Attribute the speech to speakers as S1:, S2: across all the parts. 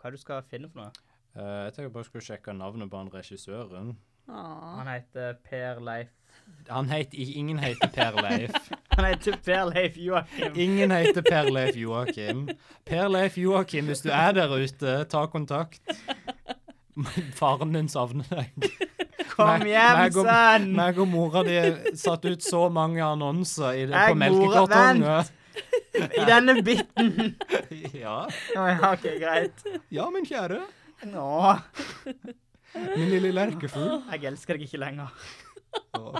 S1: Hva er det du skal finne for noe?
S2: Eh, jeg tenker bare skulle sjekke navnet på han regissøren.
S3: Åh.
S1: Han heter Per Leif.
S2: Han heter, i- ingen heter Per Leif.
S1: Han heter Per Leif Joakim.
S2: Ingen heter Per Leif Joakim. Per Leif Joakim, hvis du er der ute, ta kontakt. Faren din savner deg.
S1: Kom
S2: Meg-
S1: hjem,
S2: meg og-
S1: sønn!
S2: Meg og mora di satte ut så mange annonser i det,
S1: Jeg,
S2: på
S1: mora,
S2: melkekartonger.
S1: I denne biten.
S2: Ja.
S1: Å ja, OK, greit.
S2: ja, min kjære.
S1: Nå,
S2: Min lille lerkefugl.
S1: jeg elsker deg ikke lenger.
S2: Å,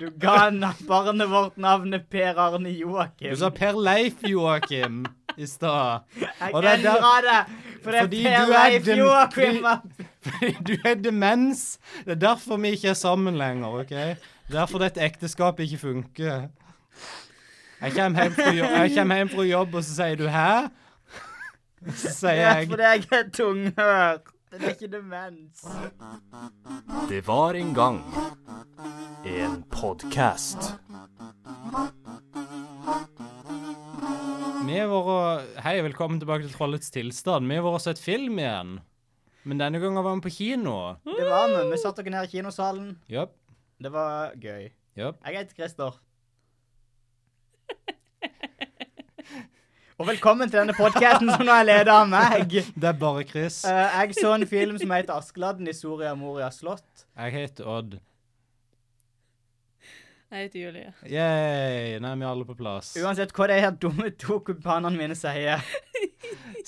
S1: Du ga na- barnet vårt navnet Per Arne Joakim.
S2: Du sa Per Leif Joakim i stad.
S1: Jeg
S2: og det er der-
S1: endra det! For det er
S2: Fordi
S1: Per
S2: du er
S1: Leif
S2: dem-
S1: Joakim.
S2: Du har demens. Det er derfor vi ikke er sammen lenger. ok? Derfor dette ekteskapet ikke funker. Jeg kommer hjem fra jobb, jeg kommer hjem fra jobb og så sier du 'hæ?' Så sier
S1: Ja,
S2: jeg
S1: fordi jeg er tunghør. Det er ikke demens.
S4: Det var en gang en podkast.
S2: vi har vært, Hei, velkommen tilbake til Trollets tilstand. Vi har vært og sett film igjen. Men denne gangen var vi på kino.
S1: Det var vi. Vi satt dere ned i kinosalen.
S2: Japp.
S1: Det var gøy.
S2: Japp.
S1: Jeg heter Christer. Og velkommen til denne podkasten som nå er ledet av meg.
S2: Det er bare Chris.
S1: Eh, jeg så en film som heter 'Askeladden i Soria Moria slott'.
S2: Jeg heter Odd.
S3: Jeg heter Julie.
S2: Yay, nå er vi alle på plass.
S1: Uansett hva de her dumme to kubanerne mine sier.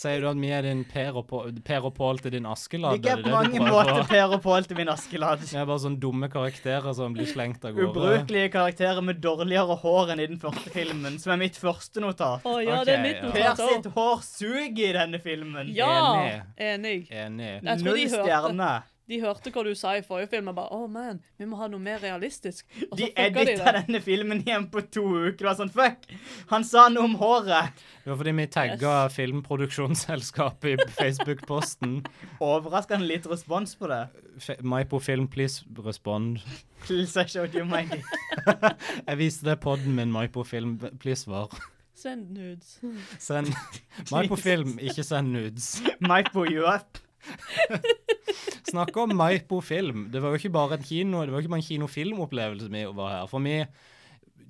S2: Sier du at vi er din Per og Pål- Per og Pål til din Askeladd?
S1: Ikke
S2: er det
S1: på
S2: det du
S1: mange
S2: prøver å-
S1: måter Per og Pål til min Askeladd.
S2: Det er bare sånne dumme karakterer som blir slengt av gårde.
S1: Ubrukelige karakterer med dårligere hår enn i den første filmen, som er mitt første notat.
S3: Å ja,
S2: Ok,
S3: det er mitt
S2: ja.
S1: Per
S3: notat
S1: sitt
S3: òg.
S1: hår suger i denne filmen.
S3: Ja!
S2: Enig.
S3: Enig.
S2: Enig.
S3: Jeg tror
S1: Null
S3: de hørte,
S1: stjerne.
S3: de hørte hva du sa i forrige film. Og bare 'Å, man, vi må ha noe mer realistisk'. Og
S1: De
S3: så fucka de
S1: edita
S3: det.
S1: denne filmen igjen på to uker. Det var sånn, fuck! Han sa noe om håret.
S2: Det var fordi vi tagga filmproduksjonsselskapet i Facebook-posten.
S1: Overraskende litt respons på det.
S2: F- Maipo Film, please respond.
S1: Please, I showed you my dick.
S2: Jeg viste det podden min, Maipo Film, please svar.
S3: Send nudes.
S2: Send Maipo Film, ikke send nudes.
S1: Mike boy you up.
S2: Snakk om Maipo Film. Det var jo ikke bare en kino, det var jo ikke bare en kinofilmopplevelse vi var her. For vi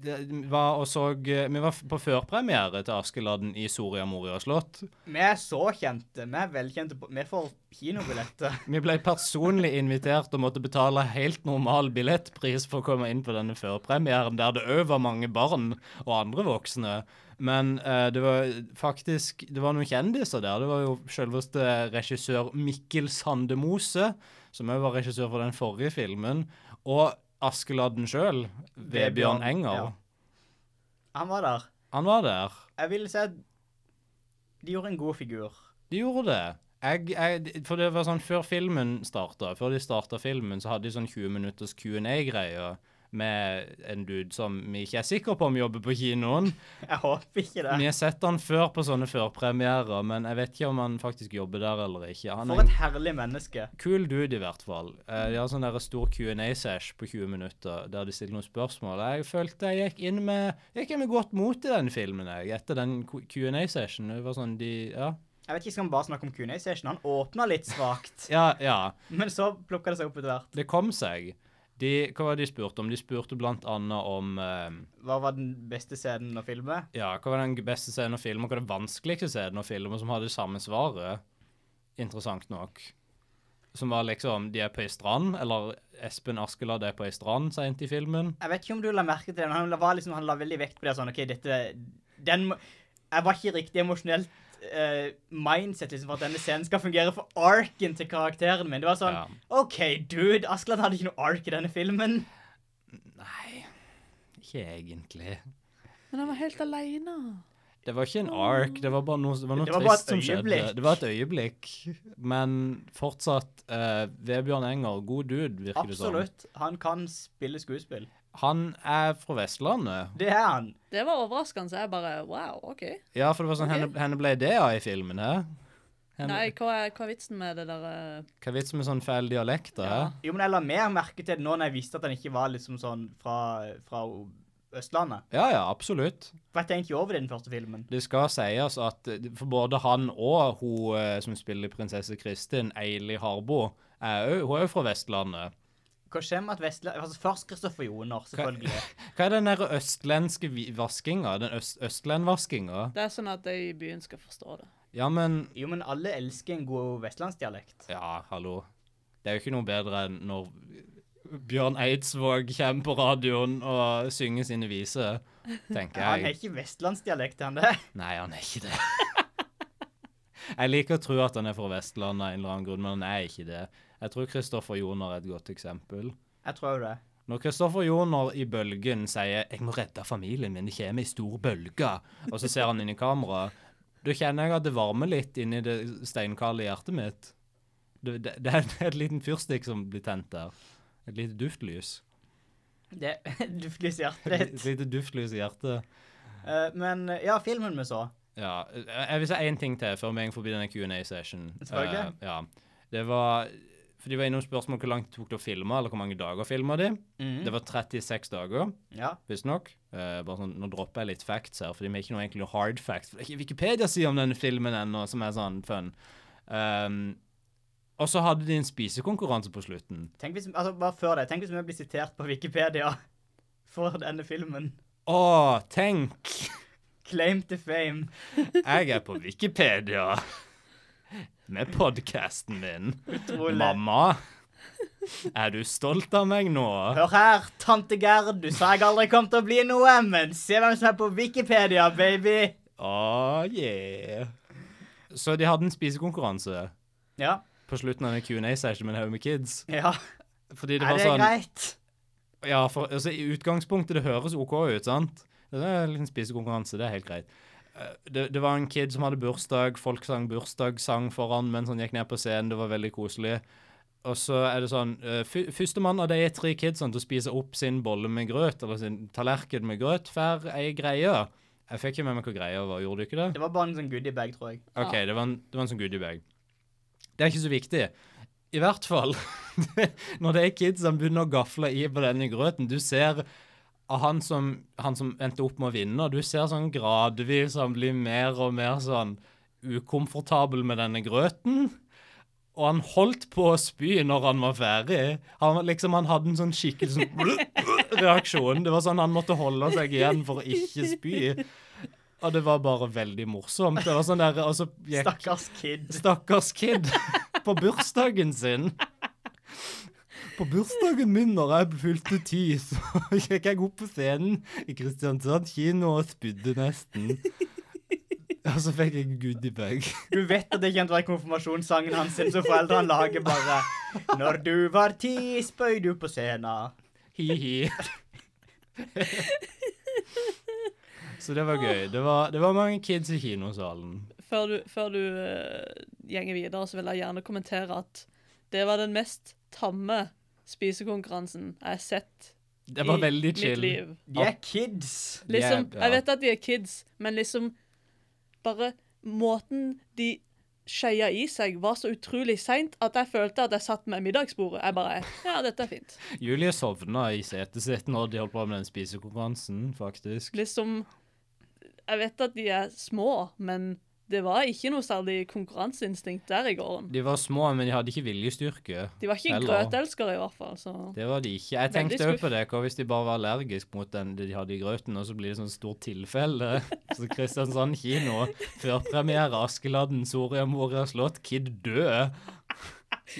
S2: det, var og så Vi var på førpremiere til Askeladden i Soria Moria slott.
S1: Vi er så kjente. Vi er velkjente. på- Vi får kinobilletter.
S2: Vi ble personlig invitert og måtte betale helt normal billettpris for å komme inn på denne førpremieren, der det òg var mange barn og andre voksne. Men eh, det var faktisk det var noen kjendiser der. Det var jo selveste regissør Mikkel Sandemose, som òg var regissør for den forrige filmen, og Askeladden sjøl, Vebjørn
S1: Vebjørn,
S2: Enger.
S1: ja. Han var der.
S2: Han var der.
S1: Jeg vil si at de gjorde en god figur.
S2: De gjorde det. Jeg, jeg, for det var sånn Før filmen starta, før de starta filmen, så hadde de sånn 20 minutters Q&A-greie med en dude som vi ikke er sikre på om jobber på kinoen.
S1: Jeg håper ikke
S2: Vi
S1: det.
S2: har sett han før på sånne førpremierer, men jeg vet ikke om han faktisk jobber der eller ikke. Han
S1: For
S2: er
S1: et
S2: en
S1: herlig menneske.
S2: kul dude, i hvert fall. Eh, De har sånn der stor Q&A-sesh på 20 minutter der de stiller noen spørsmål. Jeg følte jeg gikk inn med, jeg gikk inn med godt mot i den filmen jeg, etter den Q&A-session. Det var sånn de Ja,
S1: Jeg vet ikke skal vi bare snakke om Q&A-session. Han åpna litt svakt,
S2: ja. ja.
S1: men så plukka det seg opp etter hvert.
S2: det kom seg. De, hva var det de spurte om? De spurte blant annet om eh,
S1: Hva var den beste scenen å filme?
S2: ja, hva var den beste scenen å filme, og hva er det vanskeligste scenen å filme, som hadde det samme svaret. Interessant nok. Som var liksom De er på ei strand, eller Espen Askeladd er på ei strand seint i filmen.
S1: Jeg vet ikke om du la merke til den. Han la, var liksom, han la veldig vekt på det. Sånn, ok, dette den, må- Jeg var ikke riktig emosjonelt eh, mindset liksom, for at denne scenen skal fungere for arken til karakteren min. Det var sånn
S2: Ja.
S1: OK, dude. Askeland hadde ikke noe ark i denne filmen.
S2: Nei, ikke egentlig.
S3: Men han var helt aleine.
S2: Det var ikke en ark, det var bare noe, det var noe
S1: Det var bare
S2: trist
S1: et
S2: som skjedde.
S1: øyeblikk.
S2: Det var et øyeblikk. Men fortsatt, eh, Vebjørn Enger, god dude, virker det som.
S1: Absolutt. Han kan spille skuespill.
S2: Han er fra Vestlandet,
S1: Det er han.
S3: Det var overraskende, så jeg bare Wow, OK.
S2: Ja, for det var sånn
S3: Ok.
S2: henne, henne ble det av i filmen, hæ? Henne,
S3: Nei, hva er, hva er vitsen med det der eh?
S2: Hva er vitsen med sånn feil dialekt, da? hæ?
S1: Jo, men jeg la mer merke til det nå når jeg visste at han ikke var liksom sånn fra, fra Østlandet.
S2: Ja, ja, absolutt.
S1: For jeg tenkte jo over det i den første filmen.
S2: Det skal sies at eh, for både han og hun eh, som spiller prinsesse Kristin, Eili Harbo, er jo, hun er jo fra Vestlandet.
S1: Hva skjer med at Vestland... Altså, først Kristoffer Joner, selvfølgelig.
S2: Hva er den der østlandske vi- vaskinga? Den øst østlendvaskinga?
S3: Det er sånn at de i byen skal forstå det.
S2: Ja, men
S1: Jo, men alle elsker en god vestlandsdialekt.
S2: Ja, hallo. Det er jo ikke noe bedre enn når Bjørn Eidsvåg kommer på radioen og synger sine viser, tenker
S1: Han er
S2: jeg.
S1: ikke vestlandsdialekt, han det.
S2: Nei, han er ikke det. Jeg liker å tro at han er fra Vestlandet, av en eller annen grunn, men han er ikke det. Jeg tror Kristoffer Joner er et godt eksempel.
S1: Jeg tror jo det.
S2: Når Kristoffer Joner i Bølgen sier 'Jeg må redde familien min, det kommer ei stor bølge', og så ser han inn i kameraet, da kjenner jeg at det varmer litt inni det steinkalde hjertet mitt. Det, det, det er et liten fyrstikk som blir tent der. Et lite duftlys.
S1: Det duftlys i hjertet
S2: Et
S1: ditt.
S2: lite duftlys i hjertet.
S1: Eh, men ja, filmen vi så.
S2: Ja. eh, Jeg vil si én ting til før vi går forbi denne Q&A-session.
S1: Selvfølgelig.
S2: Eh, ja. Det var For de var innom spørsmålet om hvor langt det tok det å filme, eller hvor mange dager filma de.
S1: Mhm.
S2: Det var 36 dager.
S1: Ja.
S2: visstnok. Eh, bare sånn, nå dropper jeg litt facts her, fordi vi har ikke noe egentlig hard facts. For det er ikke Wikipedia sier om denne filmen ennå, som er sånn fun. Ehm, og så hadde de en spisekonkurranse på slutten.
S1: Tenk hvis, altså, bare før det, tenk hvis vi blir sitert på Wikipedia for denne filmen.
S2: Å, tenk!
S1: Claim to fame.
S2: Jeg er på Wikipedia med podkasten min.
S1: Utrolig.
S2: Mamma, er du stolt av meg nå?
S1: Hør her, tante Gerd, du sa jeg aldri kom til å bli noe, men se hvem som er på Wikipedia, baby.
S2: Å, yeah. Så de hadde en spisekonkurranse
S1: Ja,
S2: på slutten av en Q&A-session med Home Kids.
S1: ja.
S2: Fordi det
S1: er
S2: var
S1: det
S2: sånn
S1: greit?
S2: Ja, for altså, i utgangspunktet det høres OK ut, sant? Det er en liten spisekonkurranse, det er helt greit. Eh, Det, det var en kid som hadde bursdag, folk sang bursdagssang foran mens han gikk ned på scenen, det var veldig koselig. Og så er det sånn eh, fy- Førstemann av de tre kidsene til å spise opp sin bolle med grøt, eller sin tallerken med grøt, får ei greie. Jeg fikk ikke med meg hva greia var, gjorde du ikke det?
S1: Det var bare en sånn goodiebag, tror jeg.
S2: OK, det var en, det var en sånn goodiebag. Det er ikke så viktig. I hvert fall når det er kids som begynner å gafle i på denne grøten Du ser av han som, han som endte opp med å vinne, og du ser sånn gradvis han blir mer og mer sånn ukomfortabel med denne grøten. Og han holdt på å spy når han var ferdig. Han, var liksom, han hadde en sånn skikkelig sånn reaksjon. Det var sånn han måtte holde seg igjen for å ikke spy. Og det var bare veldig morsomt. Det var sånn der, og så gikk
S1: Stakkars kid.
S2: Stakkars kid på bursdagen sin. På bursdagen min når jeg fylte ti, så gikk jeg opp på scenen i Kristiansand kino og spydde nesten. Og så fikk jeg goodiebag.
S1: Du vet at det kommer til å være konfirmasjonssangen hans, sin, så foreldrene lager bare Når du var ti, spøy du på scenen.
S2: Hi-hi. Så det var gøy. Det var, det var mange kids i kinosalen.
S3: Før du, før du eh, gjenger videre, så vil jeg gjerne kommentere at det var den mest tamme spisekonkurransen jeg har sett
S2: Det var
S3: i
S2: veldig
S3: mitt
S2: chill.
S3: liv.
S1: De er kids.
S3: Liksom,
S2: Ja, ja.
S3: Jeg vet at de er kids, men liksom Bare måten de skeia i seg, var så utrolig seint at jeg følte at jeg satt med middagsbordet. Jeg bare Ja, dette er fint.
S2: Julie sovna i setet sitt når de holdt på med den spisekonkurransen, faktisk.
S3: Liksom Jeg vet at de er små, men det var ikke noe særlig konkurranseinstinkt der i gården.
S2: De var små, men de hadde ikke viljestyrke.
S3: De var ikke
S2: Eller-
S3: grøtelskere, i hvert fall. Så.
S2: Det var de ikke. Jeg
S3: Veldig
S2: tenkte òg på det. Hva hvis de bare var allergisk mot den de hadde i grøten, og så blir det sånn stort tilfelle? Så Kristiansand kino, førpremiere Askeladden, Soria Moria slott, Kid død.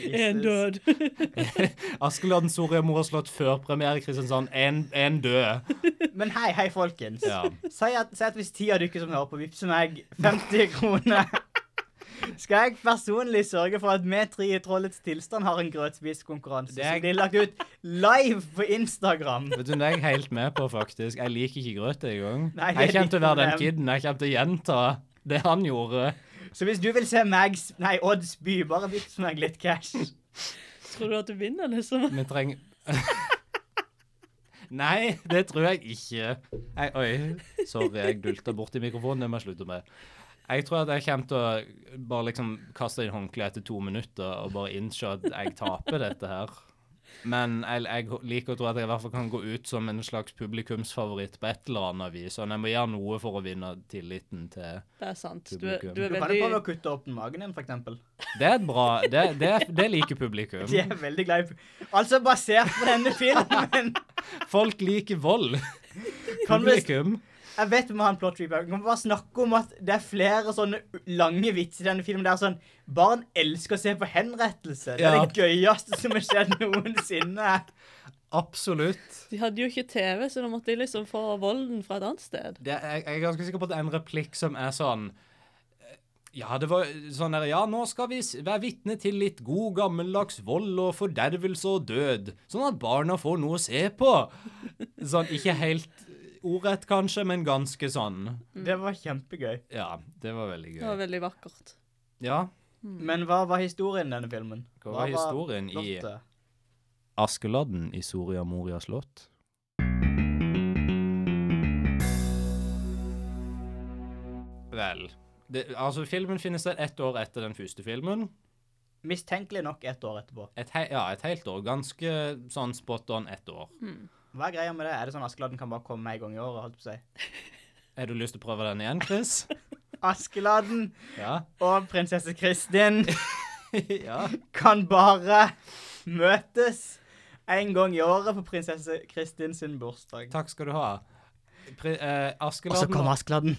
S3: En død.
S2: Askeladden, Soria Moria slott, førpremiere Kristiansand, én død.
S1: Men hei, hei, folkens.
S2: Ja.
S1: Si at, si at hvis ti av dere som hører på, vippser meg 50 kroner, skal jeg personlig sørge for at vi tre i Trollets tilstand har en grøtspisekonkurranse
S2: Det er-
S1: som blir lagt ut live på Instagram.
S2: Vet du, Det er jeg helt med på, faktisk. Jeg liker ikke grøt engang.
S1: Nei, det er
S2: Jeg kommer til å være den
S1: ditt problem.
S2: kiden. Jeg kommer til å gjenta det han gjorde.
S1: Så hvis du vil se meg s- Nei, Odd spy, bare vips meg litt cash.
S3: Tror du at du vinner, liksom?
S2: Vi trenger Nei, det tror jeg ikke. Jeg, oi, sorry, jeg dulta borti mikrofonen. Det må jeg slutte med. Jeg tror at jeg kommer til å bare liksom kaste inn håndkleet etter to minutter og bare innse at jeg taper dette her. Men jeg, jeg liker å tro at jeg i hvert fall kan gå ut som en slags publikumsfavoritt på et eller annet vis. Og jeg må gjøre noe for å vinne tilliten til
S3: Det er sant. Du er, du
S1: Du
S3: er
S1: kan jo prøve
S3: veldig
S1: å kutte opp den magen din, for eksempel.
S2: Det er et bra Det, det, det liker publikum.
S1: De er veldig glad i Altså, basert på denne filmen
S2: Folk liker vold.
S1: Kan vi-
S2: Publikum.
S1: Jeg vet vi må ha en plot reaper. Vi kan bare snakke om at det er flere sånne lange vitser i denne filmen. Det er sånn Barn elsker å se på henrettelse. Det er
S2: Ja.
S1: det gøyeste som har skjedd noensinne.
S2: Absolutt.
S3: De hadde jo ikke TV, så da måtte de liksom få volden fra et annet sted.
S2: Det, jeg, jeg er ganske sikker på at det er en replikk som er sånn eh, ja, det var sånn der, ja, nå skal vi s- være vitne til litt god gammeldags vold og fordervelse og død, sånn at barna får noe å se på. Sånn, ikke helt ordrett kanskje, men ganske sånn.
S1: Det var kjempegøy.
S2: Ja, det var veldig
S3: Det var
S2: gøy.
S3: veldig vakkert.
S2: Ja,
S1: Men hva var historien i denne filmen?
S2: hva var historien i
S1: plottet?
S2: Askeladden i Soria Moria slott? Vel, det, altså filmen finnes sted ett år etter den første filmen.
S1: Mistenkelig nok ett år etterpå.
S2: Et hei, ja, et helt år. Ganske sånn spot on ett år.
S1: Hva er greia med det? Er det sånn Askeladden kan bare komme en gang i året? holdt på å si?
S2: Har du lyst til å prøve den igjen, Chris?
S1: Askeladden
S2: Ja.
S1: og prinsesse Kristin
S2: ja.
S1: kan bare møtes en gang i året på prinsesse Kristin sin bursdag.
S2: Takk skal du ha. Pri, eh,
S1: Og så
S2: Askeladden
S1: kommer Askeladden.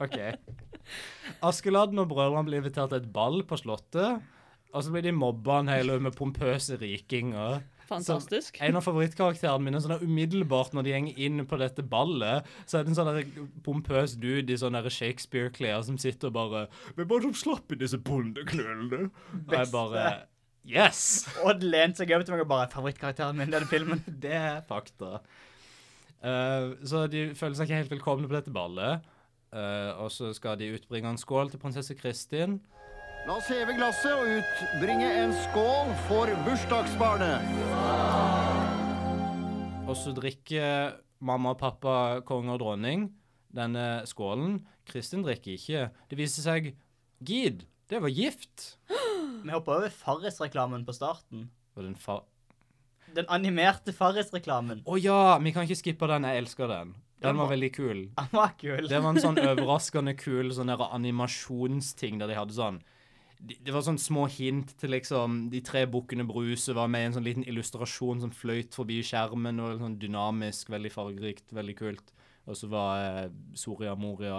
S2: Ok. Askeladden og brødrene blir invitert til et ball på Slottet. Og så blir de mobba en hel haug med pompøse rikinger.
S3: Fantastisk.
S2: Som en av favorittkarakterene mine sånn der umiddelbart når de går inn på dette ballet, så er det en sånn der pompøs dude i sånne der Shakespeare-klær som sitter og bare Hvem var det som slapp i disse bondeknølene? Og jeg bare Yes!
S1: Odd lente seg over til meg og bare Favorittkarakteren min i denne filmen.
S2: Det er fakta. Eh, så de føler seg ikke helt velkomne på dette ballet. Eh, og så skal de utbringe en skål til prinsesse Kristin.
S5: La oss heve glasset og utbringe en skål for bursdagsbarnet.
S2: Og så drikker mamma og pappa, konge og dronning, denne skålen. Kristin drikker ikke. Det viser seg Gid, det var gift.
S1: Vi hopper over Farris-reklamen på starten.
S2: Var det en fa...
S1: Den animerte Farris-reklamen.
S2: Å ja, vi kan ikke skippe den. Jeg elsker den. Den var veldig kul.
S1: Den var kul.
S2: Det var en sånn overraskende kul sånn der animasjonsting der de hadde sånn de- det var sånn små hint til liksom De tre bukkene Bruse var med i en sånn liten illustrasjon som fløyt forbi skjermen. og sånn Dynamisk, veldig fargerikt, veldig kult. Og så var eh, Soria Moria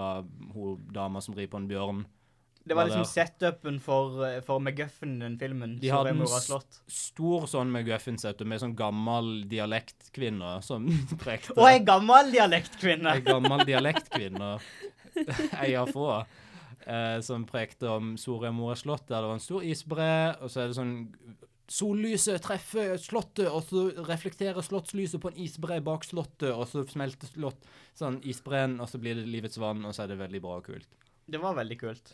S2: hun dama som rir på en bjørn.
S1: Det var liksom
S2: Ja,
S1: setupen for, eh, for McGuffen i den filmen.
S2: De
S1: Soria
S2: hadde en
S1: Moria
S2: s-
S1: slott.
S2: Stor sånn McGuffin-setup med sånn gammel dialektkvinne som prekte.
S1: Og ei gammel dialektkvinne!
S2: Ei gammel dialektkvinne, ei av få, eh, som prekte om Soria Moria slott, der det var en stor isbre, og så er det sånn Sollyset treffer slottet, og så reflekterer slottslyset på en isbre bak slottet, og så smelter slott, sånn isbreen, og så blir det livets vann, og så er det veldig bra og kult.
S1: Det var veldig kult.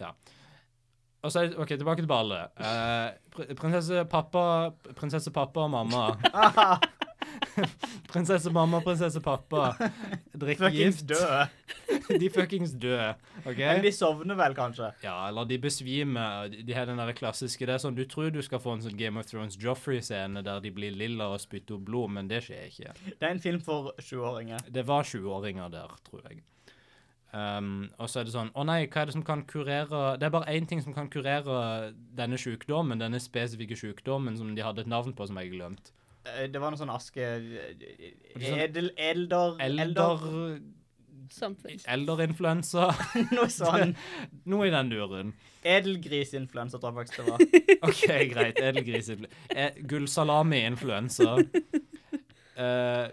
S2: Og så er det, OK, tilbake til ballet. Eh, pr prinsesse pappa Prinsesse pappa og mamma. prinsesse mamma og prinsesse pappa drikker
S1: Fuckings
S2: gift.
S1: døde.
S2: De fuckings døde.
S1: Men
S2: OK?
S1: de sovner vel, kanskje.
S2: Ja, eller de besvimer. De de har den der klassiske Det er sånn du tror du skal få en sånn Game of Thrones Joffrey-scene der de blir lilla og spytter opp blod, men det skjer ikke.
S1: Det er en film for sjuåringer.
S2: Det var 20-åringer der, tror jeg. Um, og så er det sånn Å nei, hva er det som kan kurere Det er bare én ting som kan kurere denne sykdommen, denne spesifikke sykdommen som de hadde et navn på som jeg har glemt.
S1: Eh, Det var noe sånn aske...
S2: sånn-
S1: Edel... Elder...
S2: Elder...
S3: Something.
S2: Elderinfluensa.
S1: Noe sånn.
S2: Noe i den duren.
S1: Edelgrisinfluensa, tror jeg faktisk det var.
S2: OK, greit. Edelgrisinflu... Eh, Gullsalami-influensa. Eh,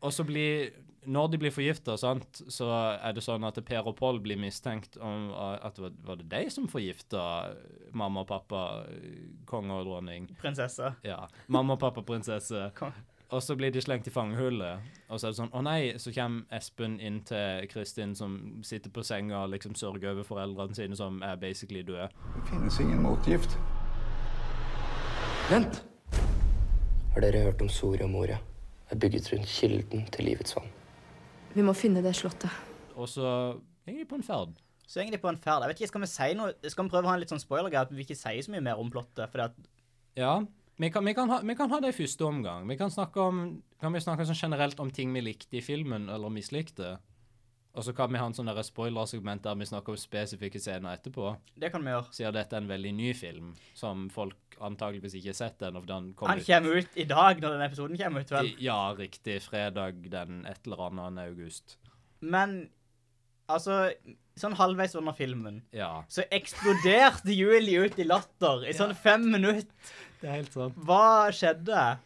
S2: og så blir Når de blir forgifta, sant, så er det sånn at Per og Pål blir mistenkt om at det var- Var det de som forgifta mamma og pappa, eh, konge og dronning?
S1: Prinsesse.
S2: Ja. Mamma og pappa, prinsesse.
S1: Kom.
S2: Og så blir de slengt i fangehullet. Og så er det sånn Å nei, så kommer Espen inn til Kristin, som sitter på senga og liksom sørger over foreldrene sine, som er basically døde.
S6: Det finnes ingen motgift.
S7: Vent! Har dere hørt om Soria Moria? Det er bygget rundt kilden til livets vann.
S8: Vi må finne det slottet.
S2: Og så gikk de på en ferd.
S1: Så egentlig på en ferd. Jeg vet ikke, Skal vi si noe? Skal vi prøve å ha en litt sånn spoiler-greie at vi ikke sier så mye mer om plottet? Fordi at
S2: Ja. Vi kan, vi, kan ha, vi kan ha det i første omgang. Vi kan snakke om Kan vi snakke sånn generelt om ting vi likte i filmen, eller mislikte? Og så kan vi ha en sånn der spoilersegment der vi snakker om spesifikke scener etterpå.
S1: Det kan vi gjøre.
S2: Siden dette er en veldig ny film, som folk antageligvis ikke har sett ennå. for Den kom
S1: Han kommer ut i dag, når denne episoden kommer ut, vel.
S2: i- Ja, riktig. Fredag den et eller annet august.
S1: Men altså Sånn halvveis under filmen
S2: Ja.
S1: så eksploderte Julie ut i latter i sånn fem minutter.
S2: Det er helt sant.
S1: Hva skjedde?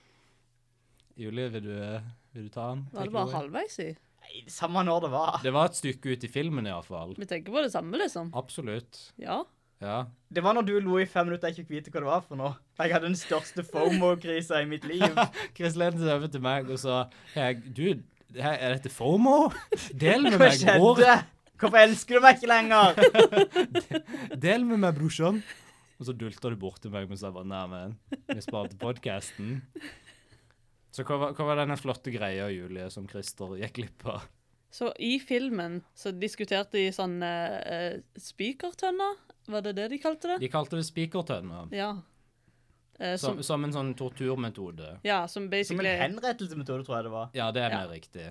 S2: Julie, vil du, eh, vil du ta den?
S3: Var
S2: Take
S3: det bare
S2: it away?
S3: halvveis i?
S1: Nei, Samme når det var.
S2: Det var et stykke ut i filmen, iallfall.
S3: Vi tenker på det samme, liksom.
S2: Absolutt.
S3: Ja.
S2: Ja.
S1: Det var når du lo i fem minutter jeg ikke fikk vite hva det var for noe. Jeg hadde den største FOMO-krisa i mitt liv.
S2: Chris lente seg over til meg og sa «Hei, Du, her- er dette FOMO? Del med
S1: Hva
S2: meg, bror.
S1: skjedde? Hvorfor elsker du meg ikke lenger?
S2: Del med meg, brorsan. Og så dulta du bort til meg mens jeg var nærme. Vi sparte podkasten. Så hva var, hva var denne flotte greia, Julie, som Christer gikk glipp av?
S3: Så i filmen så diskuterte de sånn uh, spikertønner, var det det de kalte det?
S2: De kalte det spikertønner.
S3: Ja. Eh, som,
S2: Som, som en sånn torturmetode.
S3: ja, som
S1: Som en
S3: basically,
S1: henrettelsesmetode, tror jeg det var.
S2: Ja, det er
S3: Ja.
S2: mer riktig.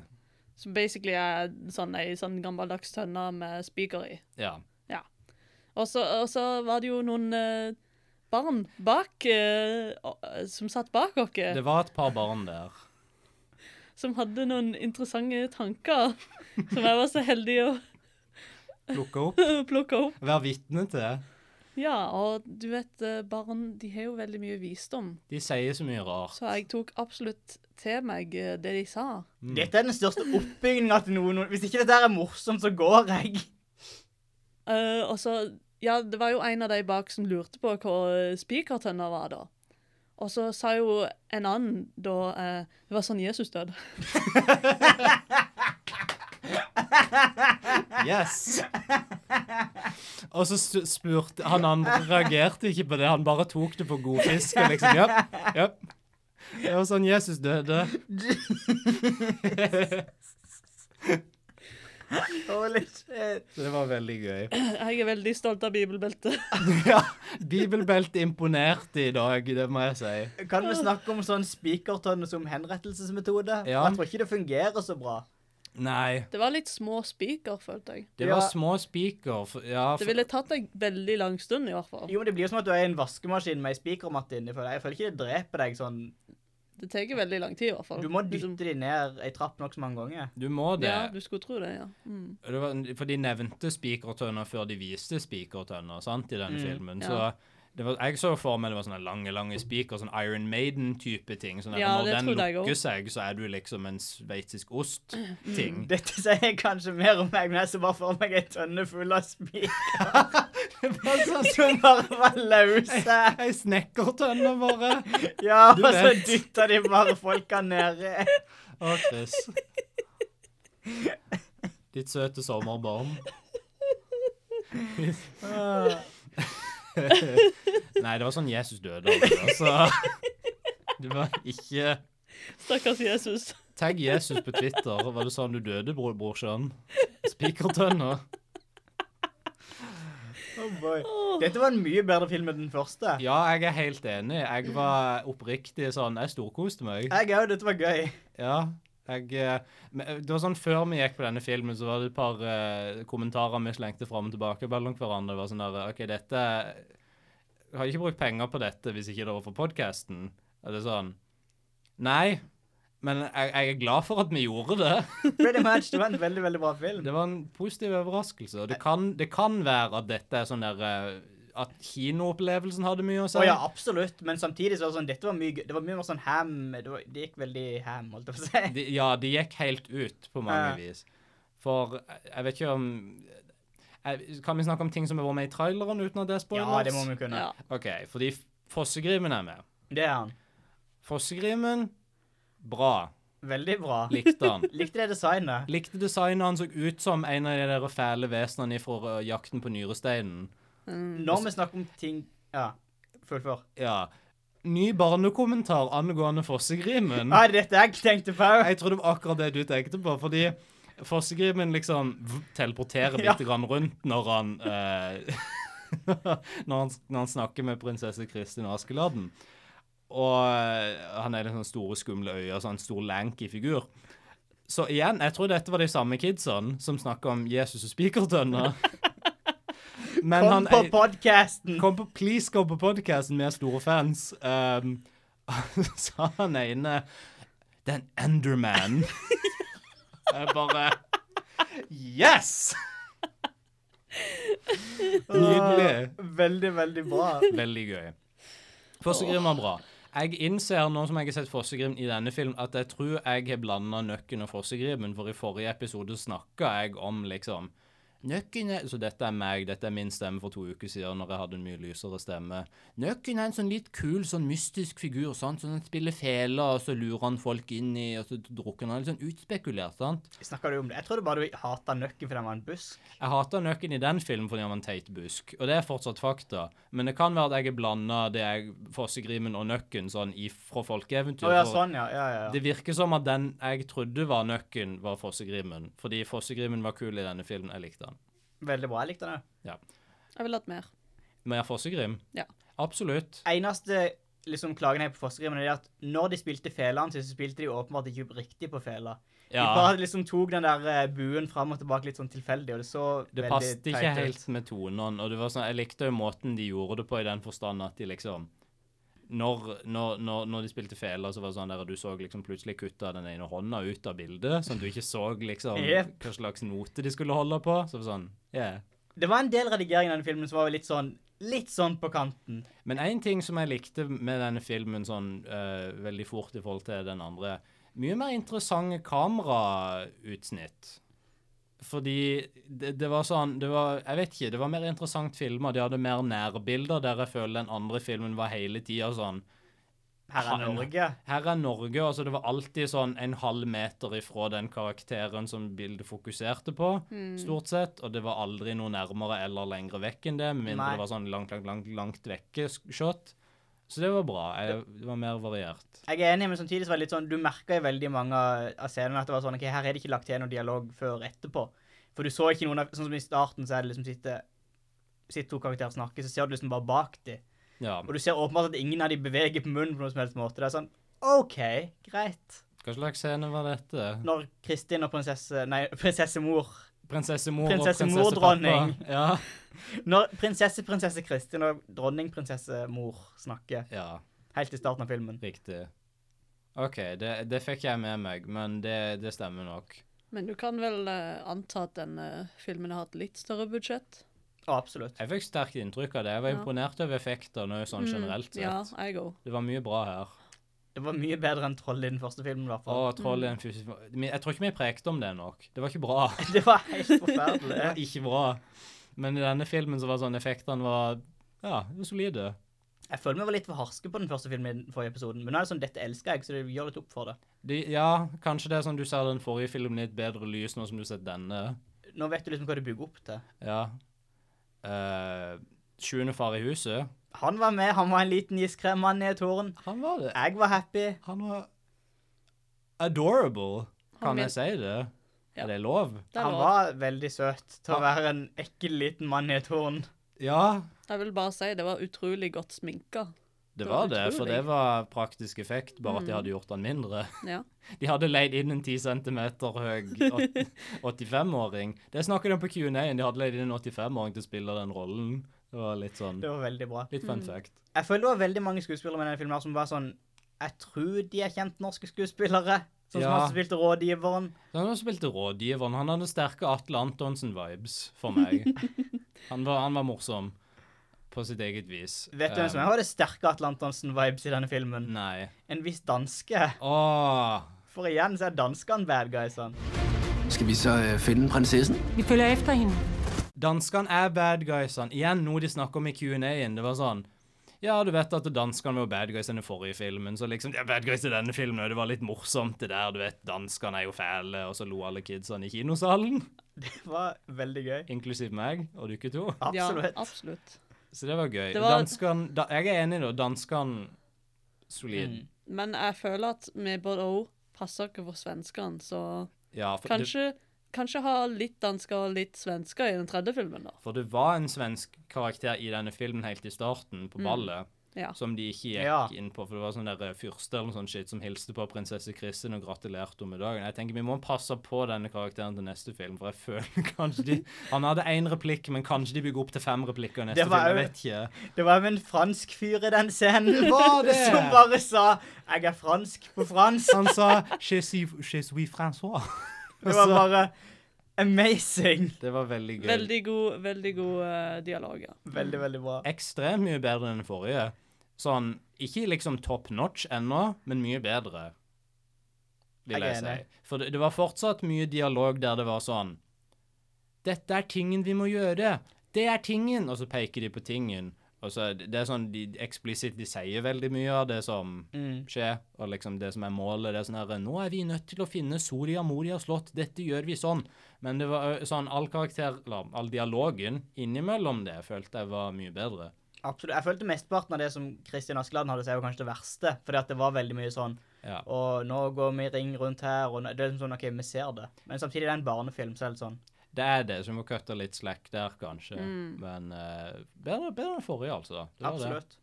S3: som basically er sånn ei sånn gammeldags tønne med spiker i.
S2: Ja.
S3: Og så, og så var det jo noen eh, barn bak eh, og- eh, som satt bak oss,
S2: Det var et par barn der.
S3: som hadde noen interessante tanker som jeg var så heldig å
S2: Plukka opp.
S3: plukke opp.
S2: Vær vitne til.
S3: Ja, og du vet, eh, barn de har jo veldig mye visdom,
S2: De sier så mye rart.
S3: så jeg tok absolutt til meg eh, det de sa.
S1: Dette er den største oppbygginga til noen. Hvis ikke dette her er morsomt, så går jeg.
S3: Eh, og så, ja, det var jo en av de bak som lurte på hva eh, spikertønna var da. Og så sa jo en annen da eh, Det var sånn Jesus døde.
S2: Yes! Og så s- spurte han, han reagerte ikke på det, han bare tok det på god fisk. og Liksom. Ja, ja. Det var sånn Jesus døde.
S1: Holy shit.
S2: Så det var veldig gøy.
S3: Jeg er veldig stolt av bibelbeltet.
S2: Ja, Bibelbeltet imponerte i dag, det må jeg si.
S1: Kan vi snakke om sånn spikertønne som henrettelsesmetode?
S2: Ja.
S1: Jeg tror ikke det fungerer så bra.
S2: Nei,
S3: Det var litt små spiker, følte jeg.
S2: det var
S1: Ja.
S2: små spiker. for- Ja,
S3: Det
S2: for-
S3: ville tatt deg veldig lang stund, i hvert fall.
S1: Jo, men Det blir jo som at du er i en vaskemaskin med ei spiker, Martin. Jeg føler, jeg føler ikke det dreper deg sånn.
S3: Det tar veldig lang tid, i hvert fall.
S1: Du må
S3: Liksom-
S1: dytte de ned ei trapp nokså mange ganger.
S2: du må det.
S3: Ja, du skulle tro det, ja. Mm.
S2: Det var, for de nevnte spikertønner før de viste spikertønner sant, i denne filmen.
S3: Mm, ja.
S2: Så det var, jeg så for meg det var sånne lange lange spiker, sånn Iron Maiden-type ting. Sånn at
S3: Ja,
S2: når
S3: det
S2: den
S3: trodde jeg
S2: lukker
S3: også.
S2: seg, så er du liksom en sveitsisk
S3: Mm.
S2: ost-ting.
S1: Dette sier kanskje mer om meg, men jeg ser bare for meg ei tønne full av spiker
S2: sånn
S1: som bare var løse.
S2: Ei snekkertønne, bare.
S1: Ja,
S2: Du
S1: og så
S2: vet.
S1: dytta de bare folka nedi.
S2: Å, Chris. Ditt søte sommerbarn.
S1: Ah,
S2: Nei, det var sånn Jesus døde, altså. Så det var ikke
S3: Stakkars Jesus.
S2: Tagg Jesus på Twitter. Var det sånn du døde, bror, brorsan? Spikertønna.
S1: Oh boy. Dette var en mye bedre film enn den første.
S2: Ja, jeg er helt enig. Jeg var oppriktig sånn Jeg storkoste meg.
S1: Jeg òg. Dette var gøy.
S2: Ja. Jeg, eh, men det var sånn Før vi gikk på denne filmen, så var det et par eh, kommentarer vi slengte fram og tilbake mellom hverandre. Det var sånn der OK, dette Jeg hadde ikke brukt penger på dette hvis ikke det var for podkasten. Er det sånn Nei. Men jeg, jeg er glad for at vi gjorde det.
S1: Pretty much. Det var en veldig, veldig bra film.
S2: Det var en positiv overraskelse. og Det kan, det kan være at dette er sånn der eh, At kinoopplevelsen hadde mye å si.
S1: Å ja, absolutt. Men samtidig så var det sånn, dette var mye, gøy- det var mye mer sånn ham. Det, var, det gikk veldig ham, holdt jeg på å si.
S2: de, ja, de gikk helt ut på mange
S1: Ja.
S2: vis. For eh, jeg vet ikke om jeg, Kan vi snakke om ting som har vært med i traileren uten at det er
S1: Ja,
S2: spoilers?
S1: det må vi kunne.
S3: Ja.
S2: OK, fordi Fossegrimen er med.
S1: Det er han.
S2: Fossegrimen bra.
S1: Veldig bra.
S2: Likte han.
S1: Likte det designet.
S2: Likte designet han så ut som en av de der fæle vesenene fra eh, Jakten på nyresteinen. Mm.
S1: Når vi snakker om ting Ja, fullfør.
S2: Ja. Ny barnekommentar angående Fossegrimen.
S1: Ja, Ah, det er dette jeg tenkte på òg.
S2: Jeg tror det var akkurat det du tenkte på, fordi Fossegrimen liksom v- teleporterer litt grann rundt når han, eh, når han Når han snakker med prinsesse Kristin Askeladden. Og eh, han er litt sånn store, skumle øyne, sånn stor, lanky figur. Så igjen, jeg tror dette var de samme kidsene som snakka om Jesus og spikertønner. Men
S1: Kom
S2: han
S1: på
S2: ei-
S1: podkasten!
S2: Kom på, please kom på podcasten med store fans. Um, sa han ene Det er en Enderman. Jeg bare Yes! Nydelig.
S1: Veldig, veldig bra.
S2: Veldig gøy. Fossegrim var bra. Jeg innser nå som jeg har sett Fossegrim i denne filmen, at jeg tror jeg har blanda Nøkken og Fossegrimen, for i forrige episode snakka jeg om liksom Nøkken er Så dette er meg, dette er min stemme for to uker siden når jeg hadde en mye lysere stemme. Nøkken er en sånn litt kul, sånn mystisk figur, sant, sånn han spiller fele, og så lurer han folk inn i, og så drukker han, litt sånn utspekulert, sant.
S1: Snakker du om det? Jeg trodde bare du hata nøkken fordi han var en busk.
S2: Jeg hater nøkken i den filmen fordi han var en teit busk, og det er fortsatt fakta. Men det kan være at jeg er blanda det jeg Fossegrimen og nøkken sånn i, fra folkeeventyr.
S1: Å ja,
S2: for
S1: sånn, ja. ja, ja, ja.
S2: Det virker som at den jeg trodde var nøkken, var Fossegrimen. Fordi Fossegrimen var kul i denne filmen. Jeg likte han.
S1: Veldig bra. Jeg likte den òg.
S3: Jeg ville hatt mer.
S2: Mer Fossegrim?
S3: Ja.
S2: Absolutt.
S1: Eneste liksom, klagen jeg har på Fossegrimen, er det at når de spilte felene sine, så spilte de åpenbart ikke riktig på fela. De
S2: Ja.
S1: bare liksom tok den der eh, buen fram og tilbake litt sånn tilfeldig, og det så
S2: Det
S1: veldig
S2: passet ikke
S1: teit ut.
S2: helt med tonen. Og det var sånn, jeg likte jo måten de gjorde det på, i den forstand at de liksom når, når, når, når de spilte feler, så var det sånn der at du så liksom plutselig kutta den ene hånda ut av bildet, sånn at du ikke så liksom
S1: Jep.
S2: hva slags note de skulle holde på. Så det var sånn, yeah.
S1: Det var en del redigering i denne filmen som var litt sånn Litt sånn på kanten.
S2: Men én ting som jeg likte med denne filmen sånn eh, veldig fort i forhold til den andre Mye mer interessante kamerautsnitt. Fordi det, det var sånn det var, Jeg vet ikke. Det var mer interessant filma. De hadde mer nærbilder der jeg føler den andre filmen var hele tida sånn
S1: Her er
S2: Han-
S1: Norge.
S2: Her er Norge. altså Det var alltid sånn en halv meter ifra den karakteren som bildet fokuserte på,
S3: Mm.
S2: stort sett. Og det var aldri noe nærmere eller lengre vekk enn det, med mindre
S1: Nei.
S2: det var sånn langt, langt, langt, langt vekke-shot. Så det var bra. Jeg, det var mer variert.
S1: Jeg er enig, men samtidig så var det litt sånn Du merka i veldig mange av- av scenene at det var sånn OK, her er det ikke lagt til noe dialog før etterpå. For du så ikke noen av Sånn som i starten, så er det liksom sitter sitter to karakterer og snakker, så ser du liksom bare bak dem.
S2: Ja,
S1: Og du ser åpenbart at ingen av dem beveger på munnen på noen som helst måte. Det er sånn OK, greit.
S2: Hva slags scene var dette?
S1: Når Kristin og prinsesse Nei, prinsessemor.
S2: Prinsessemor
S1: Prinsessemor,
S2: og
S1: dronning.
S2: prinsessepappa. Ja.
S1: Når prinsesse, prinsesse Kristin og dronning, prinsessemor snakker
S2: ja,
S1: helt i starten av filmen.
S2: riktig. OK, det, det fikk jeg med meg, men det, det stemmer nok.
S3: Men du kan vel eh, anta at denne filmen har hatt litt større budsjett?
S1: Å, absolutt.
S2: Jeg fikk sterkt inntrykk av det. Jeg var
S3: Ja. Mm,
S2: imponert over effektene sånn generelt sett.
S3: Ja, jeg òg.
S2: Det var mye bra her.
S1: Det var mye bedre enn trollet i den første filmen, i hvert fall.
S2: Å,
S3: Mm.
S2: troll i en fysi... Men Jeg tror ikke vi prekte om det nok. Det var ikke bra.
S1: Det var helt
S2: Det
S1: forferdelig.
S2: var ikke bra. Men i denne filmen så var sånn effektene var Ja, de var solide.
S1: Jeg føler vi var litt for harske på den første filmen i den forrige episoden, men nå er det sånn, dette elsker jeg, så det gjør litt opp for det.
S2: De, ja, kanskje det er sånn du ser den forrige filmen i et bedre lys nå som du har sett denne.
S1: Nå vet du liksom hva du bygger opp til.
S2: Ja. Eh, Sjuende far i huset.
S1: Han var med, han var en liten iskrem mann i et tårn.
S2: Han var det.
S1: Jeg var happy.
S2: Han var adorable.
S3: Han
S2: Kan
S3: min-
S2: jeg si det?
S3: Ja.
S2: Er det lov?
S3: Det
S1: Han
S3: var
S1: var veldig søt til å være en ekkel liten mann i et tårn.
S2: Ja,
S3: Jeg vil bare si det var utrolig godt sminka.
S2: det
S3: Det
S2: var
S3: var
S2: det. For
S3: utrolig. Mm.
S2: det var praktisk effekt, bare at de hadde gjort han mindre.
S3: Ja.
S2: De hadde leid inn en 10 cm høy åt- 85-åring. Det snakker de om på Q&A-en. De hadde leid inn en 85-åring til å spille den rollen. Det var litt sånn
S1: Det var veldig bra.
S2: Litt fun fact.
S1: Jeg føler det var veldig mange skuespillere med denne filmen her som var sånn Jeg tror de er kjent norske skuespillere. Sånn som
S2: Ja.
S1: han som spilte rådgiveren.
S2: Så han også spilte rådgiveren. Han hadde sterke Atle Antonsen-vibes for meg. Han var, han var morsom på sitt eget vis.
S1: Vet du hvem som
S2: Eh,
S1: har det sterke Atlantansen-vibes i denne filmen?
S2: Nei.
S1: En viss danske.
S2: Åh,
S1: For igjen så er danskene bad guys. Han.
S7: Skal vi så finne prinsessen?
S9: Vi følger efter hende.
S2: Danskene er bad guysene. Igjen noe de snakker om i Q&A-en. Det var sånn Ja, du vet at danskene var bad guys i den forrige filmen, så liksom de er bad guys i denne filmen, og det var litt morsomt det der, du vet, danskene er jo fæle, og så lo alle kidsene i kinosalen,
S1: Det var veldig gøy.
S2: inklusiv meg og dere to.
S1: Absolutt.
S3: Ja, absolutt.
S2: Så det var gøy.
S3: Det var-
S2: Danskene da, Jeg er enig, da. Danskene solid.
S1: Mm.
S3: Men jeg føler at vi både òg passer ikke for svenskene, så
S2: Ja, for det,
S3: kanskje, kanskje ha litt dansker og litt svensker i den tredje filmen, da.
S2: for det var en svensk karakter i denne filmen helt i starten, på ballet,
S3: Mm. Ja.
S2: som de ikke gikk
S1: Ja.
S2: inn på. For det var sånn der fyrste eller noe sånt shit som hilste på prinsesse Kristin og gratulerte henne med dagen. Jeg tenker Vi må passe på denne karakteren til neste film, for jeg føler kanskje de Han hadde én replikk, men kanskje de bygger opp til fem replikker i neste
S1: Det var
S2: film. Jeg
S1: jo-
S2: vet ikke.
S1: Det var jo en fransk fyr i den scenen
S2: var det!
S1: som bare sa 'jeg er fransk' på fransk.
S2: Han sa Je suis, je suis François.
S1: Det var bare amazing.
S2: Det var veldig gøy.
S3: Veldig god, veldig god eh, dialog, ja.
S1: Veldig, veldig bra.
S2: Ekstremt mye bedre enn den forrige. Sånn, ikke liksom top notch ennå, men mye bedre, vil
S1: Jeg er
S2: jeg si.
S1: enig.
S2: For det, det var fortsatt mye dialog der det var sånn Dette er tingen vi må gjøre. Det er tingen. Og så peker de på tingen. Og så er det det er sånn de eksplisitt de sier veldig mye av det som
S1: Mm.
S2: skjer, og liksom det som er målet. Det er sånn her Nå er vi nødt til å finne Soria Moria slott. Dette gjør vi sånn. Men det var ø, sånn all karakter Eller all dialogen innimellom det følte jeg var mye bedre.
S1: Absolutt. Jeg følte mesteparten av det som Kristian Askeland hadde, så er jo kanskje det verste. Fordi at det var veldig mye sånn
S2: Ja.
S1: Og nå går vi i ring rundt her, og nå- det er liksom sånn OK, vi ser det. Men samtidig, det er en barnefilm, så er det sånn.
S2: Det er det, så vi må kutte litt slack der, kanskje. Men eh, bedre, bedre enn forrige, altså. Det var
S1: Absolutt.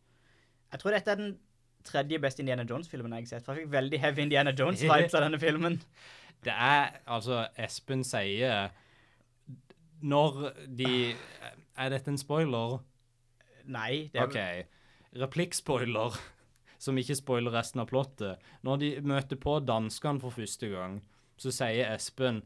S1: Jeg tror dette er den tredje beste Indiana Jones-filmen jeg har sett. For jeg fikk veldig heavy Indiana Jones-vibes av denne filmen.
S2: Det. det er Altså, Espen sier Når de Er dette en spoiler?
S1: Nei. Det er,
S2: OK. Replikkspoiler, som ikke spoiler resten av plottet. Når de møter på danskene for første gang, så sier Espen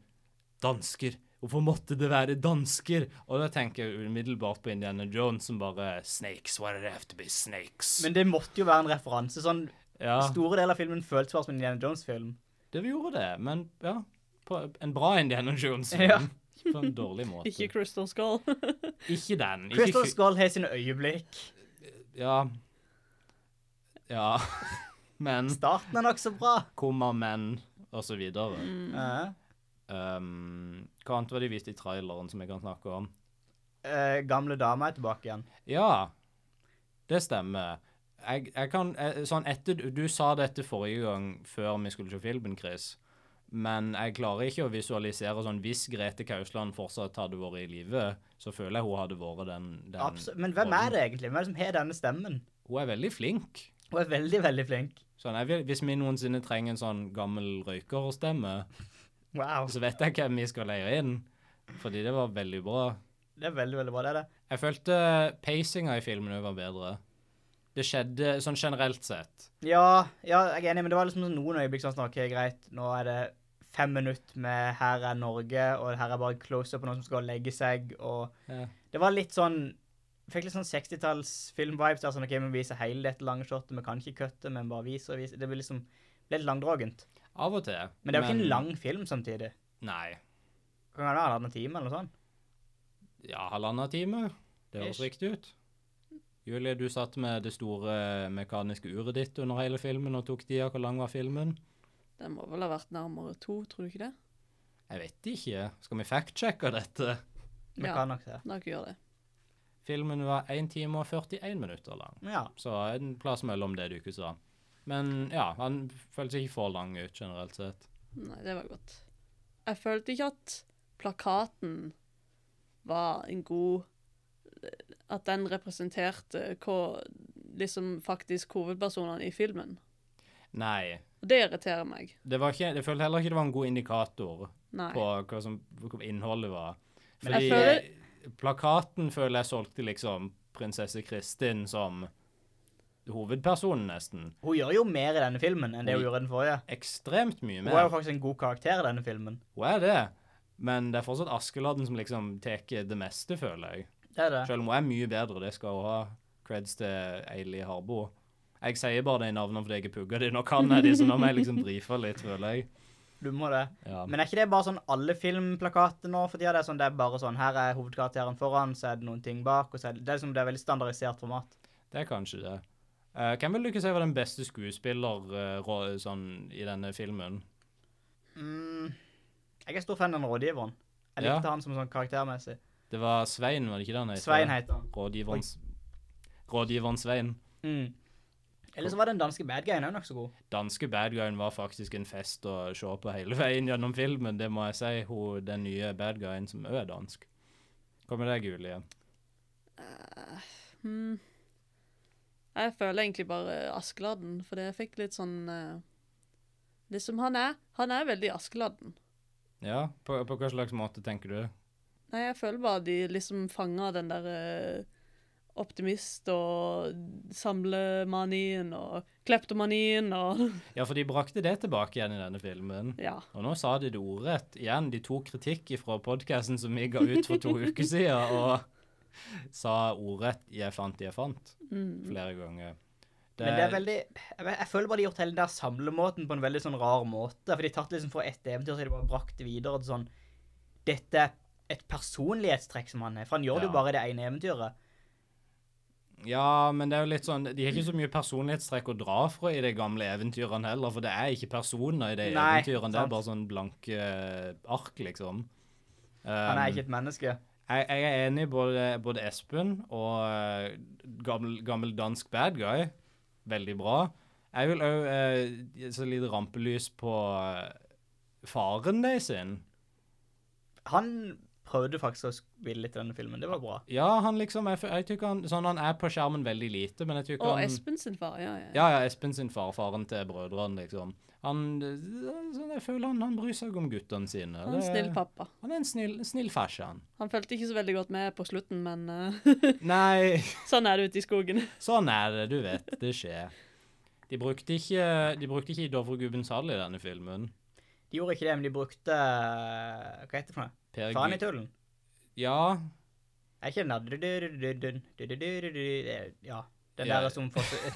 S2: Dansker. Hvorfor måtte det være dansker? Og da tenker jeg umiddelbart på Indiana Jones som bare Snakes, why did it have to be snakes?
S1: Men det måtte jo være en referanse. Sånn
S2: ja.
S1: store deler av filmen føltes bare som en Indiana Jones-film.
S2: Det vi gjorde det, men ja. På en bra Indiana Jones-film.
S1: Ja.
S2: Ikke På en dårlig måte.
S3: Ikke
S2: Ikke,
S3: Crystal Skull.
S2: den. Ikke
S1: Crystal
S2: Kry-
S1: Skull har sine øyeblikk.
S2: Ja. Ja. Men
S1: Starten er nokså bra.
S2: Kommer menn, og så videre.
S1: Ja.
S2: Um, hva annet var det de viste i traileren som jeg kan snakke om?
S1: Eh, gamle dama er tilbake igjen.
S2: Ja, det stemmer. Jeg, jeg kan, jeg, sånn etter, du sa dette forrige gang før vi skulle se filmen, Chris, men jeg klarer ikke å visualisere sånn Hvis Grete Kausland fortsatt hadde vært i live, så føler jeg hun hadde vært den, den
S1: Abs- Men hvem er det egentlig? Hvem er det som har denne stemmen?
S2: Hun er veldig flink.
S1: Hun er veldig, veldig flink.
S2: Sånn, jeg vil, hvis vi noensinne trenger en sånn gammel røykerstemme,
S1: Wow.
S2: så vet jeg hvem vi skal leie inn. Fordi det var veldig bra.
S1: Det er veldig, veldig bra, det er det.
S2: Jeg følte pacinga i filmen var bedre. Det skjedde sånn generelt sett.
S1: Ja, ja, jeg er enig, men det var liksom sånn noen øyeblikk sånn sånn, OK, greit, nå er det fem minutter med 'her er Norge', og 'her er bare close-up på noen som skal legge seg', og
S2: Ja.
S1: Det var litt sånn Fikk litt sånn 60-talls-film-vibes. der, sånn, OK, vi viser hele dette lange shotet, vi kan ikke kutte, men bare vise og vise. Det ble liksom ble litt langdragent.
S2: Av og til.
S1: Men det er jo ikke en lang film samtidig.
S2: Nei.
S1: Det Kan være halvannen time eller noe sånt.
S2: Ja, halvannen time. Det høres
S1: Ish.
S2: riktig ut. Julie, du satt med det store mekaniske uret ditt under hele filmen og tok tida. Hvor lang var filmen?
S3: Den må vel ha vært nærmere to, tror du ikke det?
S2: Jeg vet ikke. Skal vi fact-sjekke dette?
S1: Vi
S3: Ja.
S1: kan nok det.
S3: Da kan vi gjøre det.
S2: Filmen var 1 time og 41 minutter lang.
S1: Ja.
S2: Så en plass mellom det du ikke sa. Men ja, han føltes ikke for lang ut generelt sett.
S3: Nei, det var godt. Jeg følte ikke at plakaten var en god At den representerte hva liksom faktisk hovedpersonene i filmen.
S2: Nei.
S3: Og det irriterer meg.
S2: Det var ikke, jeg følte heller ikke det var en god indikator
S3: Nei.
S2: på hva som hva innholdet var.
S1: Men
S2: Fordi
S3: jeg føler-
S2: eh, plakaten føler jeg solgte liksom prinsesse Kristin som hovedpersonen, nesten.
S1: Hun gjør jo mer i denne filmen enn det hun
S2: Oi.
S1: gjorde i den forrige.
S2: Ekstremt mye
S1: Hun er jo
S2: mer.
S1: faktisk en god karakter i denne filmen.
S2: Hun er det. Men det er fortsatt Askeladden som liksom tar det meste, føler jeg.
S1: Det er det.
S2: Selv om hun er mye bedre, det skal hun ha. Creds til Eili Harbo. Jeg sier bare de navnene fordi jeg er pugga de. Nå kan jeg de, så nå må jeg liksom drife litt, føler jeg.
S1: Du må det.
S2: Ja.
S1: Men er ikke det bare sånn alle filmplakater nå for tida? Det er sånn, det er bare sånn, her er hovedkarakteren foran, så er det noen ting bak, og så er det, det er liksom det er veldig standardisert format.
S2: Det er kanskje det. Eh, hvem vil du ikke si var den beste skuespiller eh, rå- sånn, i denne filmen?
S1: Mm. Jeg er stor fan av den rådgiveren. Jeg
S2: Ja.
S1: likte han som sånn karaktermessig.
S2: Det var Svein, var det ikke det han het?
S1: Svein heter han.
S2: Rådgiveren, rådgiveren Svein.
S1: Mm. Eller så var den danske bad guyen òg nokså god.
S2: Danske badguyen var faktisk en fest å se på hele veien gjennom filmen, det må jeg si. Hun, den nye badguyen som også er dansk. Hva med deg, Julie?
S3: Hmm. Jeg føler egentlig bare Askeladden, for jeg fikk litt sånn eh, Det som han er. Han er veldig Askeladden.
S2: Ja, på, på hva slags måte tenker du?
S3: Nei, jeg føler bare de liksom fanger den der eh, optimist og samlemanien og kleptomanien og
S2: Ja, for de brakte det tilbake igjen i denne filmen.
S3: Ja.
S2: Og nå sa de det ordrett igjen. De tok kritikk fra podkasten som vi ga ut for to uker siden, og sa ordrett 'jeg fant, jeg fant' flere ganger. Det,
S1: Mm. Men det er veldig Jeg, vet- jeg føler bare de har gjort hele den der samlemåten på en veldig sånn rar måte. For de har tatt liksom fra ett eventyr så har de bare brakt det videre til sånn Dette er et personlighetstrekk som han har. For han gjør det
S2: Ja.
S1: jo bare i det ene eventyret.
S2: Ja, men det er jo litt sånn De har ikke så mye personlighetstrekk å dra fra i de gamle eventyrene heller, for det er ikke personer i de
S1: Nei,
S2: eventyrene. Det
S1: sant.
S2: er bare sånn blanke ark, liksom.
S1: Han
S2: Um,
S1: er ikke et menneske.
S2: Jeg, jeg er enig i både, både Espen og eh, gammel, gammel dansk bad guy. Veldig bra. Jeg vil òg eh, gi så litt rampelys på eh, faren de sin.
S1: Han prøvde faktisk å spille litt i denne filmen. Det var bra.
S2: Ja, han liksom Jeg, jeg tykker han, sånn, han er på skjermen veldig lite, men jeg tykker
S3: Og
S2: han
S3: Espen sin far, ja, ja.
S2: Ja, ja, Espen sin far, faren til brødrene, liksom. Han eh, sånn, Jeg føler han, han bryr seg om guttene sine.
S3: Han er en
S2: Det-
S3: snill pappa.
S2: Han er en snill, snill fashion.
S3: Han fulgte ikke så veldig godt med på slutten, men eh,
S2: Nei
S3: sånn er det ute i skogen.
S2: Sånn er det, du vet. Det skjer. De brukte ikke, de brukte ikke Dovregubbens hall i denne filmen.
S1: De gjorde ikke det, men de brukte Hva heter det for noe?
S2: Per Gy-
S1: Faen i tullen.
S2: Ja.
S1: Er ikke den der du-du-du-du-dun, du-du-du-du-du, det er- Ja. Den
S2: Ja.
S1: der som, får-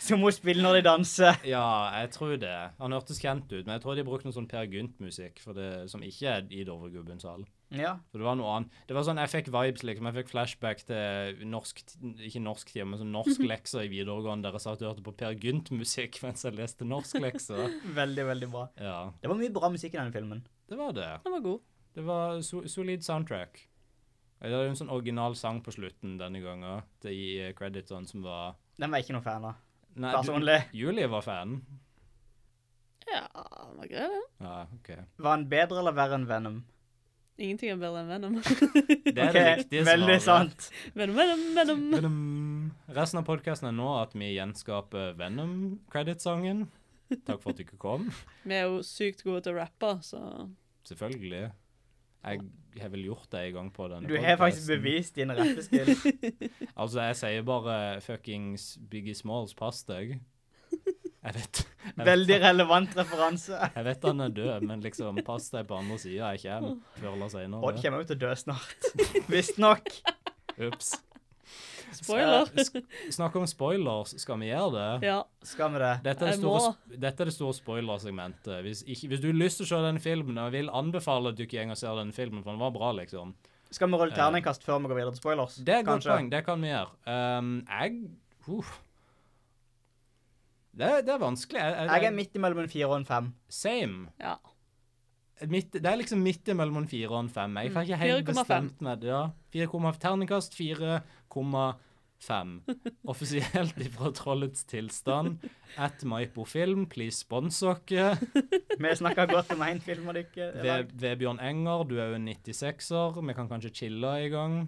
S1: som hun spiller når de danser.
S2: ja, jeg tror det. Han hørtes kjent ut, men jeg tror de brukte noe sånn Per Gynt-musikk for det- som ikke er i Dovregubbens hall.
S1: Ja.
S2: For det var noe annet. Det var sånn, Jeg fikk vibes, liksom. Jeg fikk flashback til norsk Ikke norsk tid, men sånn norsk lekser i videregående. Dere satt og hørte på Per Gynt-musikk mens jeg leste norsk lekser.
S1: Veldig, veldig bra.
S2: Ja,
S1: Det var mye bra musikk i denne filmen.
S2: det var det.
S3: Han var god.
S2: Det var so solid soundtrack. Det er jo en sånn original sang på slutten denne gangen, til i eh, creditsene som var
S1: Den var jeg ikke noe fan av.
S2: Nei,
S1: Personlig.
S2: du, Julie var fan.
S3: Ja, han var grei, det.
S2: Ja, OK.
S1: Var den bedre eller verre enn Venom?
S3: Ingenting er bedre enn Venom.
S2: Det er det
S1: Ok,
S2: riktige
S1: Veldig sant.
S3: Venom, Venom, Venom.
S2: Venom. Resten av podkasten er nå at vi gjenskaper Venom-creditsangen. Takk for at du ikke kom.
S3: Vi er jo sykt gode til å rappe, så
S2: Selvfølgelig. Jeg har vel gjort det en gang på denne
S1: Du har faktisk
S2: podcasten.
S1: bevist din rette skill.
S2: Altså, jeg sier bare fuckings Biggie Smalls, pass deg. Jeg vet. Jeg vet
S1: Veldig relevant referanse.
S2: Jeg vet han er død, men liksom, pass deg på andre sida. Jeg kommer før eller
S1: Odd
S2: senere.
S1: kommer jo til å dø snart. Visstnok.
S2: Ups.
S3: spoiler.
S2: Eh, sk- Snakk om spoilers, skal vi gjøre det?
S3: Ja.
S1: Skal vi det?
S2: Dette er det
S3: Jeg
S2: store, sp- dette er det store spoilersegmentet. Hvis, ikke- hvis du har lyst til å se den filmen, og jeg vil anbefale at du ikke engang ser den filmen, for den var bra, liksom.
S1: Skal vi rulle terningkast før vi går videre til spoilers?
S2: Det er et godt
S1: Kanskje.
S2: poeng. Det kan vi gjøre. Um, jeg uff. det, det er vanskelig. Jeg, jeg,
S1: Jeg er midt imellom en fire og en fem.
S2: Same.
S3: ja.
S2: Midt, det er liksom midt imellom en Mm. fire og en fem. Jeg har ikke helt
S3: 4,5.
S2: bestemt meg. Ja. 4,5 Terningkast 4,5. Offisielt ifra Trollets tilstand. At Maipo Film, please spons oss.
S1: Vi snakker godt om én film, og det ikke er
S2: Ve-
S1: lagd.
S2: Vebjørn Enger, du er jo en 96-er. Vi kan kanskje chille i gang.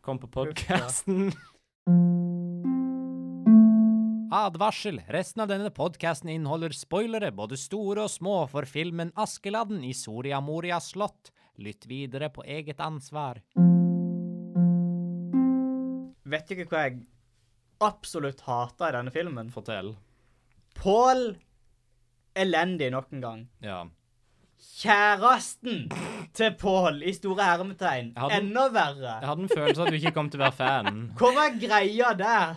S2: Kom på podkasten. Advarsel! Resten av denne podkasten inneholder spoilere, både store og små, for filmen 'Askeladden' i Soria Moria slott. Lytt videre på eget ansvar.
S1: Vet du ikke hva jeg absolutt hater i denne filmen?
S2: Fortell.
S1: Pål elendig nok en gang.
S2: Ja.
S1: Kjæresten til Pål i store hermetegn.
S2: Jeg hadde-
S1: Enda verre.
S2: Jeg hadde en følelse av at du ikke kom til å være fan.
S1: Hva var greia der?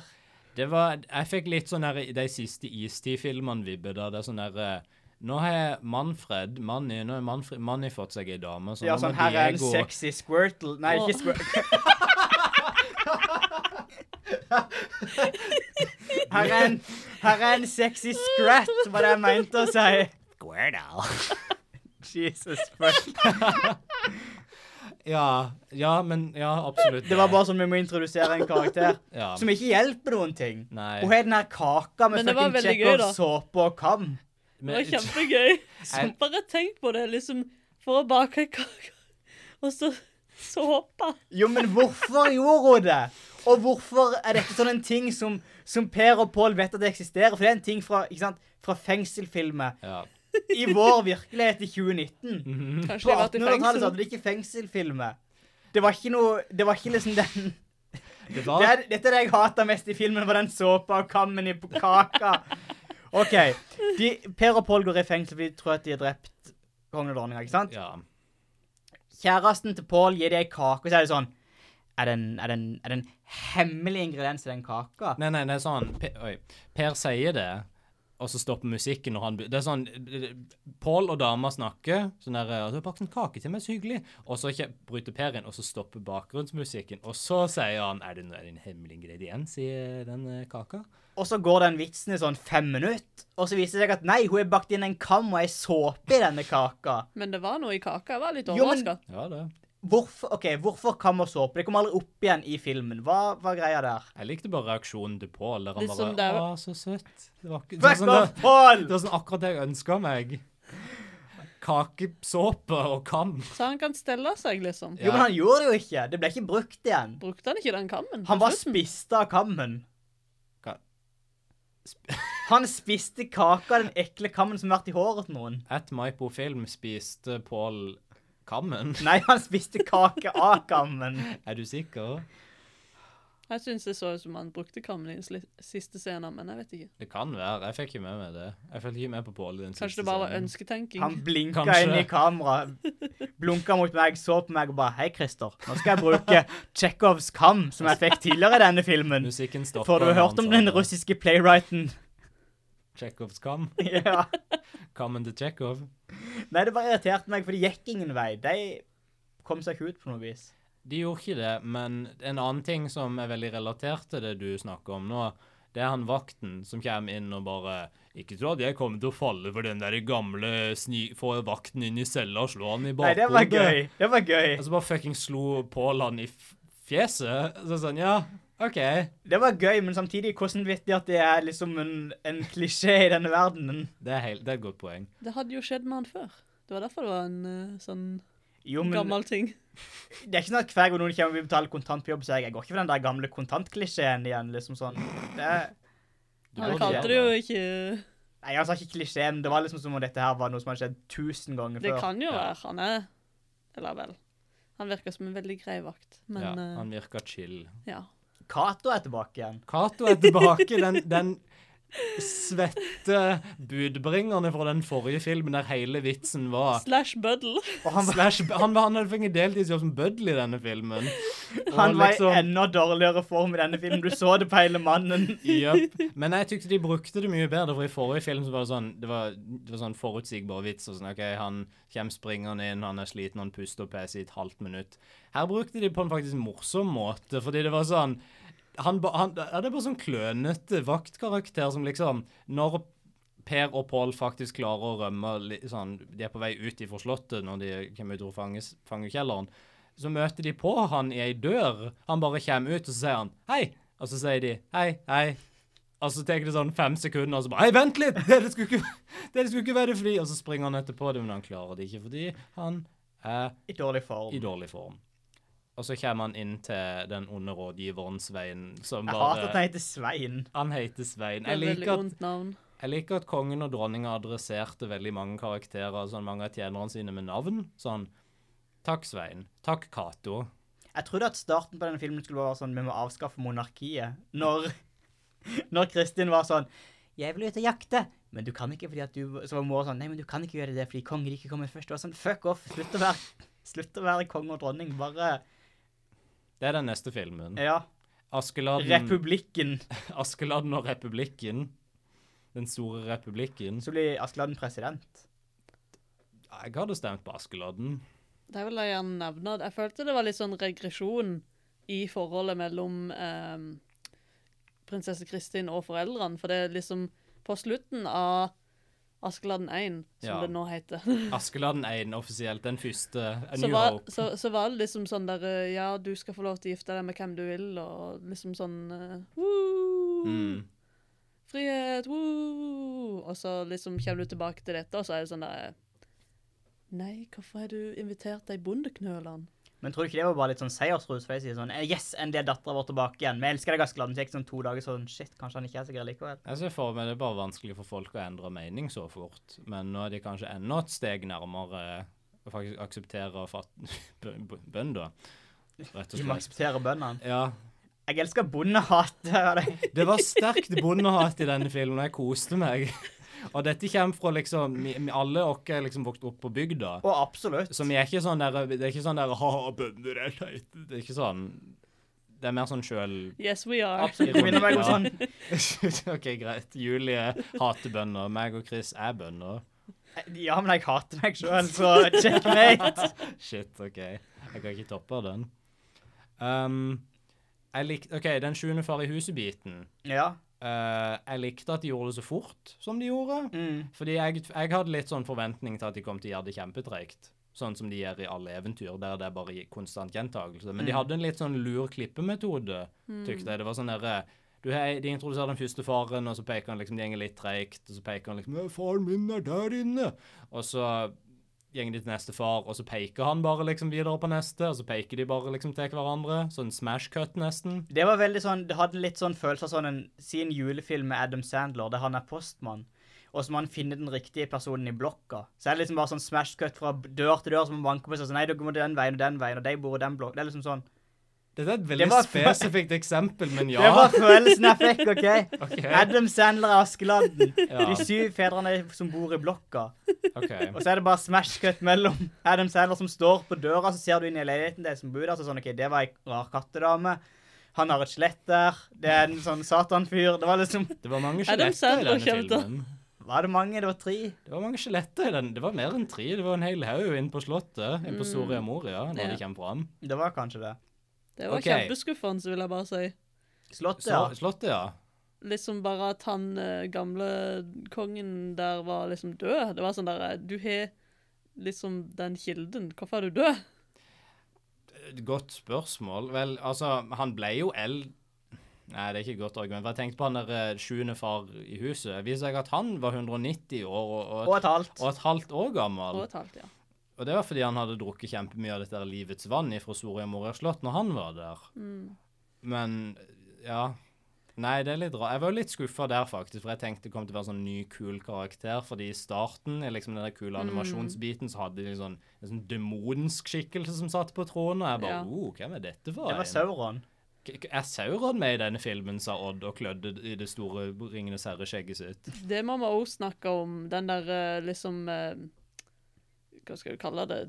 S2: Det var, jeg fikk litt sånn her, de siste Istid-filmene vibbe da, det er sånn her, eh, nå har Manfred, Manni, nå har Manfred, Manni fått seg en dame, så
S1: Ja,
S2: nå
S1: sånn,
S2: må
S1: her er en
S2: Diego,
S1: sexy squirtle. Nei,
S3: Åh.
S1: ikke squirtle. Her er, en, her er en sexy scrat, var det jeg mente å si. Jesus Christ.
S2: Ja, ja, men, ja, absolutt.
S1: Det var bare sånn vi må introdusere en karakter
S2: Ja.
S1: som ikke hjelper noen ting.
S2: Nei.
S1: Hun har den her kaka med
S3: Men det var
S1: fucking
S3: veldig gøy, da.
S1: Tsjekhov såpe og kam.
S3: Det
S2: Men-
S3: var kjempegøy.
S2: Jeg-
S3: Bare tenk på det, liksom. For å bake en kake, og så såpe.
S1: Jo, men hvorfor gjorde hun det? Og hvorfor er dette sånn en ting som, som Per og Pål vet at det eksisterer? For det er en ting fra, ikke sant, fra fengselfilmer.
S2: Ja.
S1: I vår virkelighet i 2019.
S2: Mm.
S1: På
S3: Kanskje de har vært i
S1: 1800-tallet så
S3: fengsel.
S1: hadde de ikke fengselfilmer. Det var ikke noe Det var ikke liksom den
S2: Det
S1: det
S2: var,
S1: er, Dette er det jeg hata mest i filmen, var den såpa og kammen i p- kaka. OK. De, per og Pål går i fengsel fordi de tror at de har drept kongen og dronninga, ikke sant?
S2: ja.
S1: Kjæresten til Pål gir dem ei kake, og så er det sånn Er det en, er det en, er det en hemmelig ingrediens i den kaka?
S2: Nei, nei, det er sånn per, Oi. Per sier det, og så stopper musikken når han be- Det er sånn Pål og dama snakker, sånn der «Ja, 'Du har bakt en kake til meg, så hyggelig.' Og så kje- bryter Per inn, og så stopper bakgrunnsmusikken, og så sier han 'Er det, noe- er det en hemmelig ingrediens i eh, den eh, kaka?'
S1: Og så går den vitsen i sånn fem minutter, og så viser det seg at nei, hun har bakt inn en kam og ei såpe i denne kaka.
S3: Men det var noe i kaka. Jeg var litt
S1: Jo, men-
S3: overraska.
S2: Ja, det.
S1: Hvorfor, ok, hvorfor kam og såpe? Det kom aldri opp igjen i filmen. Hva var greia der?
S2: Jeg likte bare reaksjonen til Pål. der Han
S3: Liksom,
S2: bare
S3: det er jo-
S2: 'Å, så søtt'. Det var, ikke, det, var
S1: Fuck
S2: sånn,
S1: off,
S2: det,
S1: Paul!
S2: det var sånn akkurat det jeg ønska meg. Kakesåpe og kam.
S3: Så han kan stelle seg, liksom.
S1: Jo, men han gjorde det jo ikke. Det ble ikke brukt igjen.
S3: Brukte han ikke den kammen?
S1: Han bare spiste av kammen.
S2: Ka-
S1: Han spiste kaka av den ekle kammen som har vært i håret til noen.
S2: At Maipo Film spiste Pål kammen.
S1: Nei, han spiste kake av kammen.
S2: Er du sikker?
S3: Jeg syns det så ut som han brukte kammen i den sli- siste scenen, men jeg vet ikke.
S2: Det kan være. Jeg fikk ikke med meg det. Jeg følte ikke med på Pål i den
S3: Kanskje
S2: siste
S3: det bare var
S2: scenen.
S3: ønsketenking.
S1: Han blinka
S2: Kanskje.
S1: inn i kameraet, blunka mot meg, så på meg og bare Hei, Christer, nå skal jeg bruke Tsjekhovs kam, som jeg fikk tidligere i denne filmen.
S2: Musikken stopper.
S1: For du har
S2: når
S1: hørt om
S2: han sa
S1: den
S2: det.
S1: russiske playwrighten?
S2: Tsjekhovs kam.
S1: ja.
S2: Kammen til Tsjekhov.
S1: Nei, det bare irriterte meg, for det gikk ingen vei. De kom seg ikke ut på noe vis.
S2: De gjorde ikke det, men en annen ting som er veldig relatert til det du snakker om nå, det er han vakten som kommer inn og bare Ikke tro at jeg kommer til å falle for den der gamle sni... Få vakten inn i cella og slå han i
S1: Nei,
S2: bakhodet.
S1: det var gøy. Det var gøy.
S2: Og så bare fucking slo Pål han i f- fjeset. Så sånn, ja, OK.
S1: Det var gøy, men samtidig hvordan vet de at det er liksom en, en klisjé i denne verdenen?
S2: Det er, helt, det er et godt poeng.
S3: Det hadde jo skjedd med han før. Det var derfor det var en eh, sånn
S1: Jo, men
S3: gammel ting.
S1: det er ikke sånn at hver gang noen kommer og vil betale kontant på jobb, så er jeg, jeg går ikke for den der gamle kontantklisjeen igjen, liksom sånn. Det, er-
S2: Du
S3: Han
S2: burde
S3: kalte
S2: gjøre
S3: det jo ikke
S1: nei, jeg sa ikke klisjé, men det var liksom som om dette her var noe som hadde skjedd tusen ganger
S3: Det
S1: før.
S3: kan jo
S2: Ja.
S3: være han er Eller vel. Han virker som en veldig grei vakt, men
S2: ja,
S3: eh,
S2: han virka chill.
S3: ja.
S1: Kato er tilbake igjen.
S2: Cato er tilbake, den, den svette budbringerne fra den forrige filmen der hele vitsen var
S3: Slash Buddle.
S1: Og han, var-
S2: Slash, han, var- han hadde fått en deltidsjobb som bøddel i denne filmen. Og
S1: han var
S2: liksom-
S1: i enda dårligere form i denne filmen. Du så det på hele mannen.
S2: Jep. Men jeg tykte de brukte det mye bedre, for i forrige film så var det sånn Det var, det var sånn forutsigbar vits og sånn OK, han kommer springende inn, han er sliten, han puster og peser i et halvt minutt. Her brukte de på en faktisk morsom måte, fordi det var sånn han, ba- han, ja, Det er bare sånn klønete vaktkarakter som liksom Når Per og Pål faktisk klarer å rømme li- sånn, De er på vei ut ifra Slottet når de kommer ut fra fanges- fangekjelleren. Så møter de på han i ei dør. Han bare kommer ut, og så sier han 'hei'. Og så sier de 'hei, hei'. Og så tar det sånn fem sekunder, og så bare 'hei, vent litt'! Dere skulle ikke, dere skulle ikke være det fordi Og så springer han etterpå det, men han klarer det ikke fordi han er
S1: I dårlig
S2: i
S1: form.
S2: dårlig form. Og så kommer han inn til den onde rådgiveren Svein, som
S1: Jeg hater at
S2: bare
S1: han heter Svein.
S2: Han heter Svein.
S3: Det er
S2: Jeg
S3: et veldig
S2: liker at
S3: ondt navn.
S2: jeg liker at kongen og dronninga adresserte veldig mange karakterer, sånn mange av tjenerne sine med navn. Sånn Takk, Svein. Takk, Cato.
S1: Jeg trodde at starten på denne filmen skulle være sånn Vi må avskaffe monarkiet. Når, når Kristin var sånn Jeg vil ut og jakte. Men du kan ikke fordi at du Så var mor sånn Nei, men du kan ikke gjøre det fordi kongeriket kommer først. Det var sånn Fuck off. Slutt å være Slutt å være konge og dronning. Bare
S2: Det er den neste filmen.
S1: Ja.
S2: Askeladden,
S1: Republikken.
S2: Askeladden og republikken. Den store republikken.
S1: Så blir Askeladden president.
S2: Jeg hadde stemt på Askeladden.
S3: Det vil jeg gjerne nevne. Jeg følte det var litt sånn regresjon i forholdet mellom ehm, prinsesse Kristin og foreldrene. For det er liksom på slutten av Askeladden 1, som
S2: Ja.
S3: det nå heter,
S2: Askeladden 1 offisielt, den første. A
S3: så
S2: New
S3: var,
S2: Hope.
S3: så, så var det liksom sånn der eh, Ja, du skal få lov til å gifte deg med hvem du vil, og liksom sånn eh, woo,
S2: Mm.
S3: Frihet! Woo! Og så liksom kommer du tilbake til dette, og så er det sånn der Nei, hvorfor har du invitert deg bondeknølene?
S1: Men tror du ikke det var bare litt sånn seiersrus? For jeg sier sånn eh, Yes, endelig er dattera vår tilbake igjen. Vi elsker deg, Askeladden. Så gikk det sånn to dager sånn Shit, kanskje han ikke er så grei likevel.
S2: Jeg ser for meg det er bare vanskelig for folk å endre mening så fort. Men nå er de kanskje enda et steg nærmere eh, å faktisk akseptere fat bø- bø- bønn, da. Rett og
S1: De må
S2: slett.
S1: akseptere bøndene.
S2: Ja.
S1: Jeg elsker bondehat. var det.
S2: Det var sterkt bondehat i denne filmen, og jeg koste meg. Og dette kommer fra liksom vi- vi- Alle oss er liksom vokst opp på bygda.
S1: Og absolutt.
S2: Så vi er ikke sånn der Det er ikke sånn der Ha, bønder er teite. Det er ikke sånn. Det er mer sånn sjøl...
S3: Yes, we are.
S1: Absolutt. Det minner meg om sånn
S2: OK, greit. Julie hater bønder. Meg og Chris er bønder.
S1: Ja, men jeg hater meg sjøl, så checkmate.
S2: Shit, OK. Jeg kan ikke toppe den. Um, jeg likte, OK, den sjuende far i huset-biten.
S1: Ja.
S2: Eh, jeg likte at de gjorde det så fort som de gjorde.
S1: Mm.
S2: Fordi jeg, jeg hadde litt sånn forventning til at de kom til å gjøre det kjempetreigt. Sånn som de gjør i alle eventyr, der det er bare i- konstant gjentakelse. Men de
S1: Mm.
S2: hadde en litt sånn lur klippemetode, tykte jeg. Det var sånn derre du, hei, De introduserer den første faren, og så peker han liksom, det går litt treigt. Og så peker han liksom «Ja, 'Faren min er der inne!' Og så går de til neste far, og så peker han bare liksom videre på neste, og så peker de bare liksom til hverandre. Sånn smash cut, nesten.
S1: Det var veldig sånn, det hadde litt sånn følelse av sånn en sin julefilm med Adam Sandler, der han er postmann, og så må han finne den riktige personen i blokka. Så er det liksom bare sånn smash cut fra dør til dør, som man banker på seg, sånn, nei, dere må den veien og den veien, og de bor i den blokka. Det er liksom sånn.
S2: Dette er et
S1: Det
S2: veldig
S1: var-
S2: spesifikt eksempel, men ja.
S1: Det var følelsen jeg fikk, ok?
S2: Ok.
S1: Adam Sandler er Askeladden.
S2: Ja.
S1: De syv fedrene som bor i blokka.
S2: Ok.
S1: Og så er det bare smash cut mellom Adam Sandler som står på døra, så ser du inn i leiligheten deres som bor der, så sånn, ok, det var ei rar kattedame. Han har et skjelett der. Det er en sånn satanfyr. Det var liksom
S2: Det var mange
S3: Adam
S2: skjeletter i denne
S3: Sandler kjefter.
S2: filmen.
S1: Var det mange? Det var tre.
S2: Det var mange skjeletter i den. Det var mer enn tre. Det var en hel haug inne på Slottet, inne på Soria Moria, når
S3: Ja.
S2: de kommer fram.
S1: Det var kanskje det.
S3: Det var
S2: Ok.
S3: kjempeskuffende, vil jeg bare si.
S1: Slottet,
S2: Så,
S1: ja.
S2: slottet, ja.
S3: Liksom bare at han eh, gamle kongen der var liksom død. Det var sånn der eh, Du har liksom den kilden. Hvorfor er du død?
S2: Et Godt spørsmål. Vel, altså, han ble jo eld... Nei, det er ikke et godt argument. for Jeg tenkte på han der eh, sjuende far i huset. Det viser seg at han var 190 år og, og,
S1: Og et halvt.
S2: og et halvt år gammel.
S3: Og et halvt, ja.
S2: Og det var fordi han hadde drukket kjempemye av dette der livets vann fra Soria Moria slott når han var der. Men ja Nei, det er litt rart. Jeg var jo litt skuffa der, faktisk, for jeg tenkte det kom til å være sånn ny, kul karakter. Fordi i starten, i liksom den der kule animasjonsbiten, så hadde de liksom en sånn demonsk skikkelse som satt på tronen. Og jeg bare
S3: Ja.
S2: oh, hvem er dette for
S1: Det var
S2: en?
S1: Sauron.
S2: K- k- Er Sauron med i denne filmen, sa Odd og klødde i det store Ringenes herre-skjegget sitt.
S3: Det må vi òg snakke om. Den der eh, liksom eh, Hva skal du kalle det?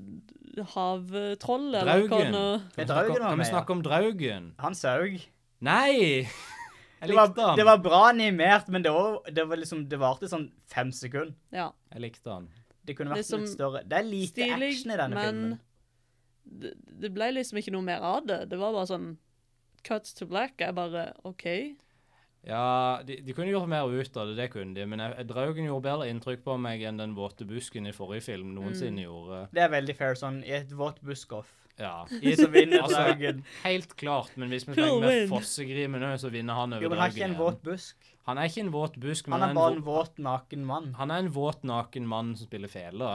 S3: Havtroll, eller hva
S2: Draugen.
S3: nå?
S2: Kan vi
S1: Det er
S2: snakke om-
S1: Draugen var
S2: kan vi
S1: med, ja.
S2: snakke om Draugen?
S1: Han saug.
S2: Nei! Jeg
S1: Det var,
S2: likte han.
S1: det var bra animert, men det, var, det, var liksom, det varte sånn fem sekunder.
S3: Ja.
S2: Jeg likte han.
S1: Det kunne vært
S3: Liksom
S1: litt større. Det er lite
S3: stilig,
S1: action i denne
S3: men
S1: filmen.
S3: det, det ble liksom ikke noe mer av det. Det var bare sånn Cuts to black. Jeg bare OK.
S2: Ja, de, de kunne gjort mer ut av det, det kunne de. Men jeg, jeg- Draugen gjorde bedre inntrykk på meg enn den våte busken i forrige film noensinne gjorde.
S1: Det er veldig fair sånn i et vått buskoff.
S2: Ja.
S1: I så vinner
S2: Altså,
S1: Draugen.
S2: Helt klart, men hvis vi
S3: Who'll
S2: slenger med
S3: win?
S2: fossegrimen òg, så vinner han over
S1: Jo, men har ikke en
S2: Draugen.
S1: våt
S2: igjen.
S1: busk.
S2: Han er ikke en våt busk, men
S1: Han er bare en
S2: vå-
S1: våt, naken mann.
S2: han er en våt, naken mann som spiller fele.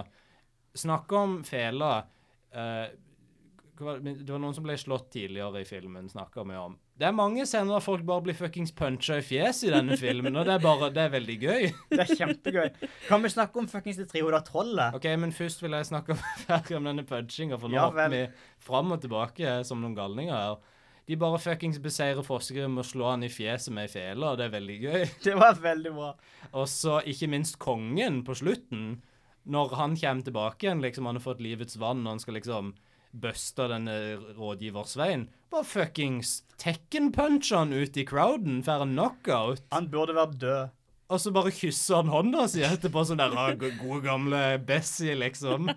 S2: Snakke om fele eh, hva var det- men det var noen som ble slått tidligere i filmen, snakker vi om. Det er mange scener der folk bare blir fuckings puncha i fjeset i denne filmen, og det er bare, det er veldig gøy.
S1: Det er kjempegøy. Kan vi snakke om fuckings det trehoda trollet?
S2: Ok, men først vil jeg snakke om- ferdig om denne punchinga, for nå
S1: Ja,
S2: hopper
S1: vel.
S2: vi fram og tilbake som noen galninger her. De bare fuckings beseirer Fossegrim og slår han i fjeset med ei fele, og det er veldig gøy.
S1: Det var veldig bra.
S2: Og så ikke minst kongen på slutten, når han kommer tilbake igjen, liksom han har fått livets vann, og han skal liksom bøste denne rådgiversveien, bare fuckings tekken-puncher han ut i crowden, får en knockout.
S1: Han burde vært død.
S2: Og så bare kysser han hånda si etterpå, sånn der ah, go- gode gamle Bessie, liksom.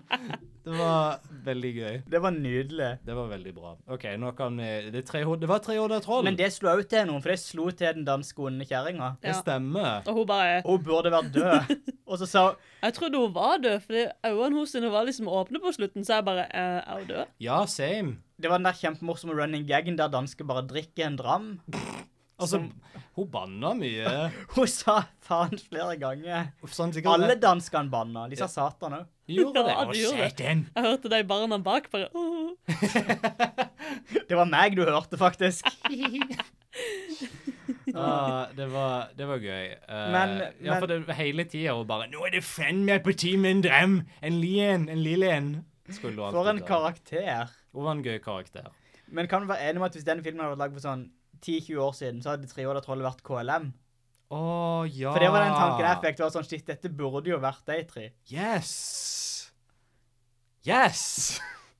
S2: Det var veldig gøy.
S1: Det var nydelig.
S2: Det var veldig bra. OK, nå kan vi Det, er tre, hod- det var trehoda troll.
S1: Men
S2: det,
S1: det slo også til noen, for det slo til den danske onde kjerringa.
S3: Ja.
S2: stemmer.
S3: Og hun bare
S1: Hun burde vært død. Og så sa hun
S3: Jeg trodde hun var død, for øynene hennes sine var liksom åpne på slutten, så jeg bare eh, Er hun død?
S2: Ja, same.
S1: Det var den der kjempemorsomme running gaggen der dansker bare drikker en dram.
S2: Altså, hun banna mye.
S1: Hun sa faen flere ganger.
S2: Sånn sikkert
S1: Alle danskene banna. De sa satan òg.
S2: gjorde det.
S3: Ja,
S2: Å,
S3: de gjorde det.
S2: satan.
S3: Jeg hørte de barna bak bare uh. «Åh».
S1: Det var meg du hørte, faktisk.
S2: Ah, det, var, det var gøy. Eh,
S1: Men-
S2: ja, for det, hele tida og bare 'Nå er det faen meg på tide med en drøm! En lien! En lille en!' Skulle du
S1: For en
S2: alltid ha.
S1: karakter.
S2: Hun var en gøy karakter.
S1: Men kan du være enig om at hvis denne filmen hadde vært laget for sånn 10-20 år siden, så hadde Triola Troll vært KLM?
S2: Å, ja.
S1: For det var den tanken
S2: Ah.
S1: jeg fikk. Det var sånn, shit, dette burde jo vært de tre.
S2: Yes! Yes!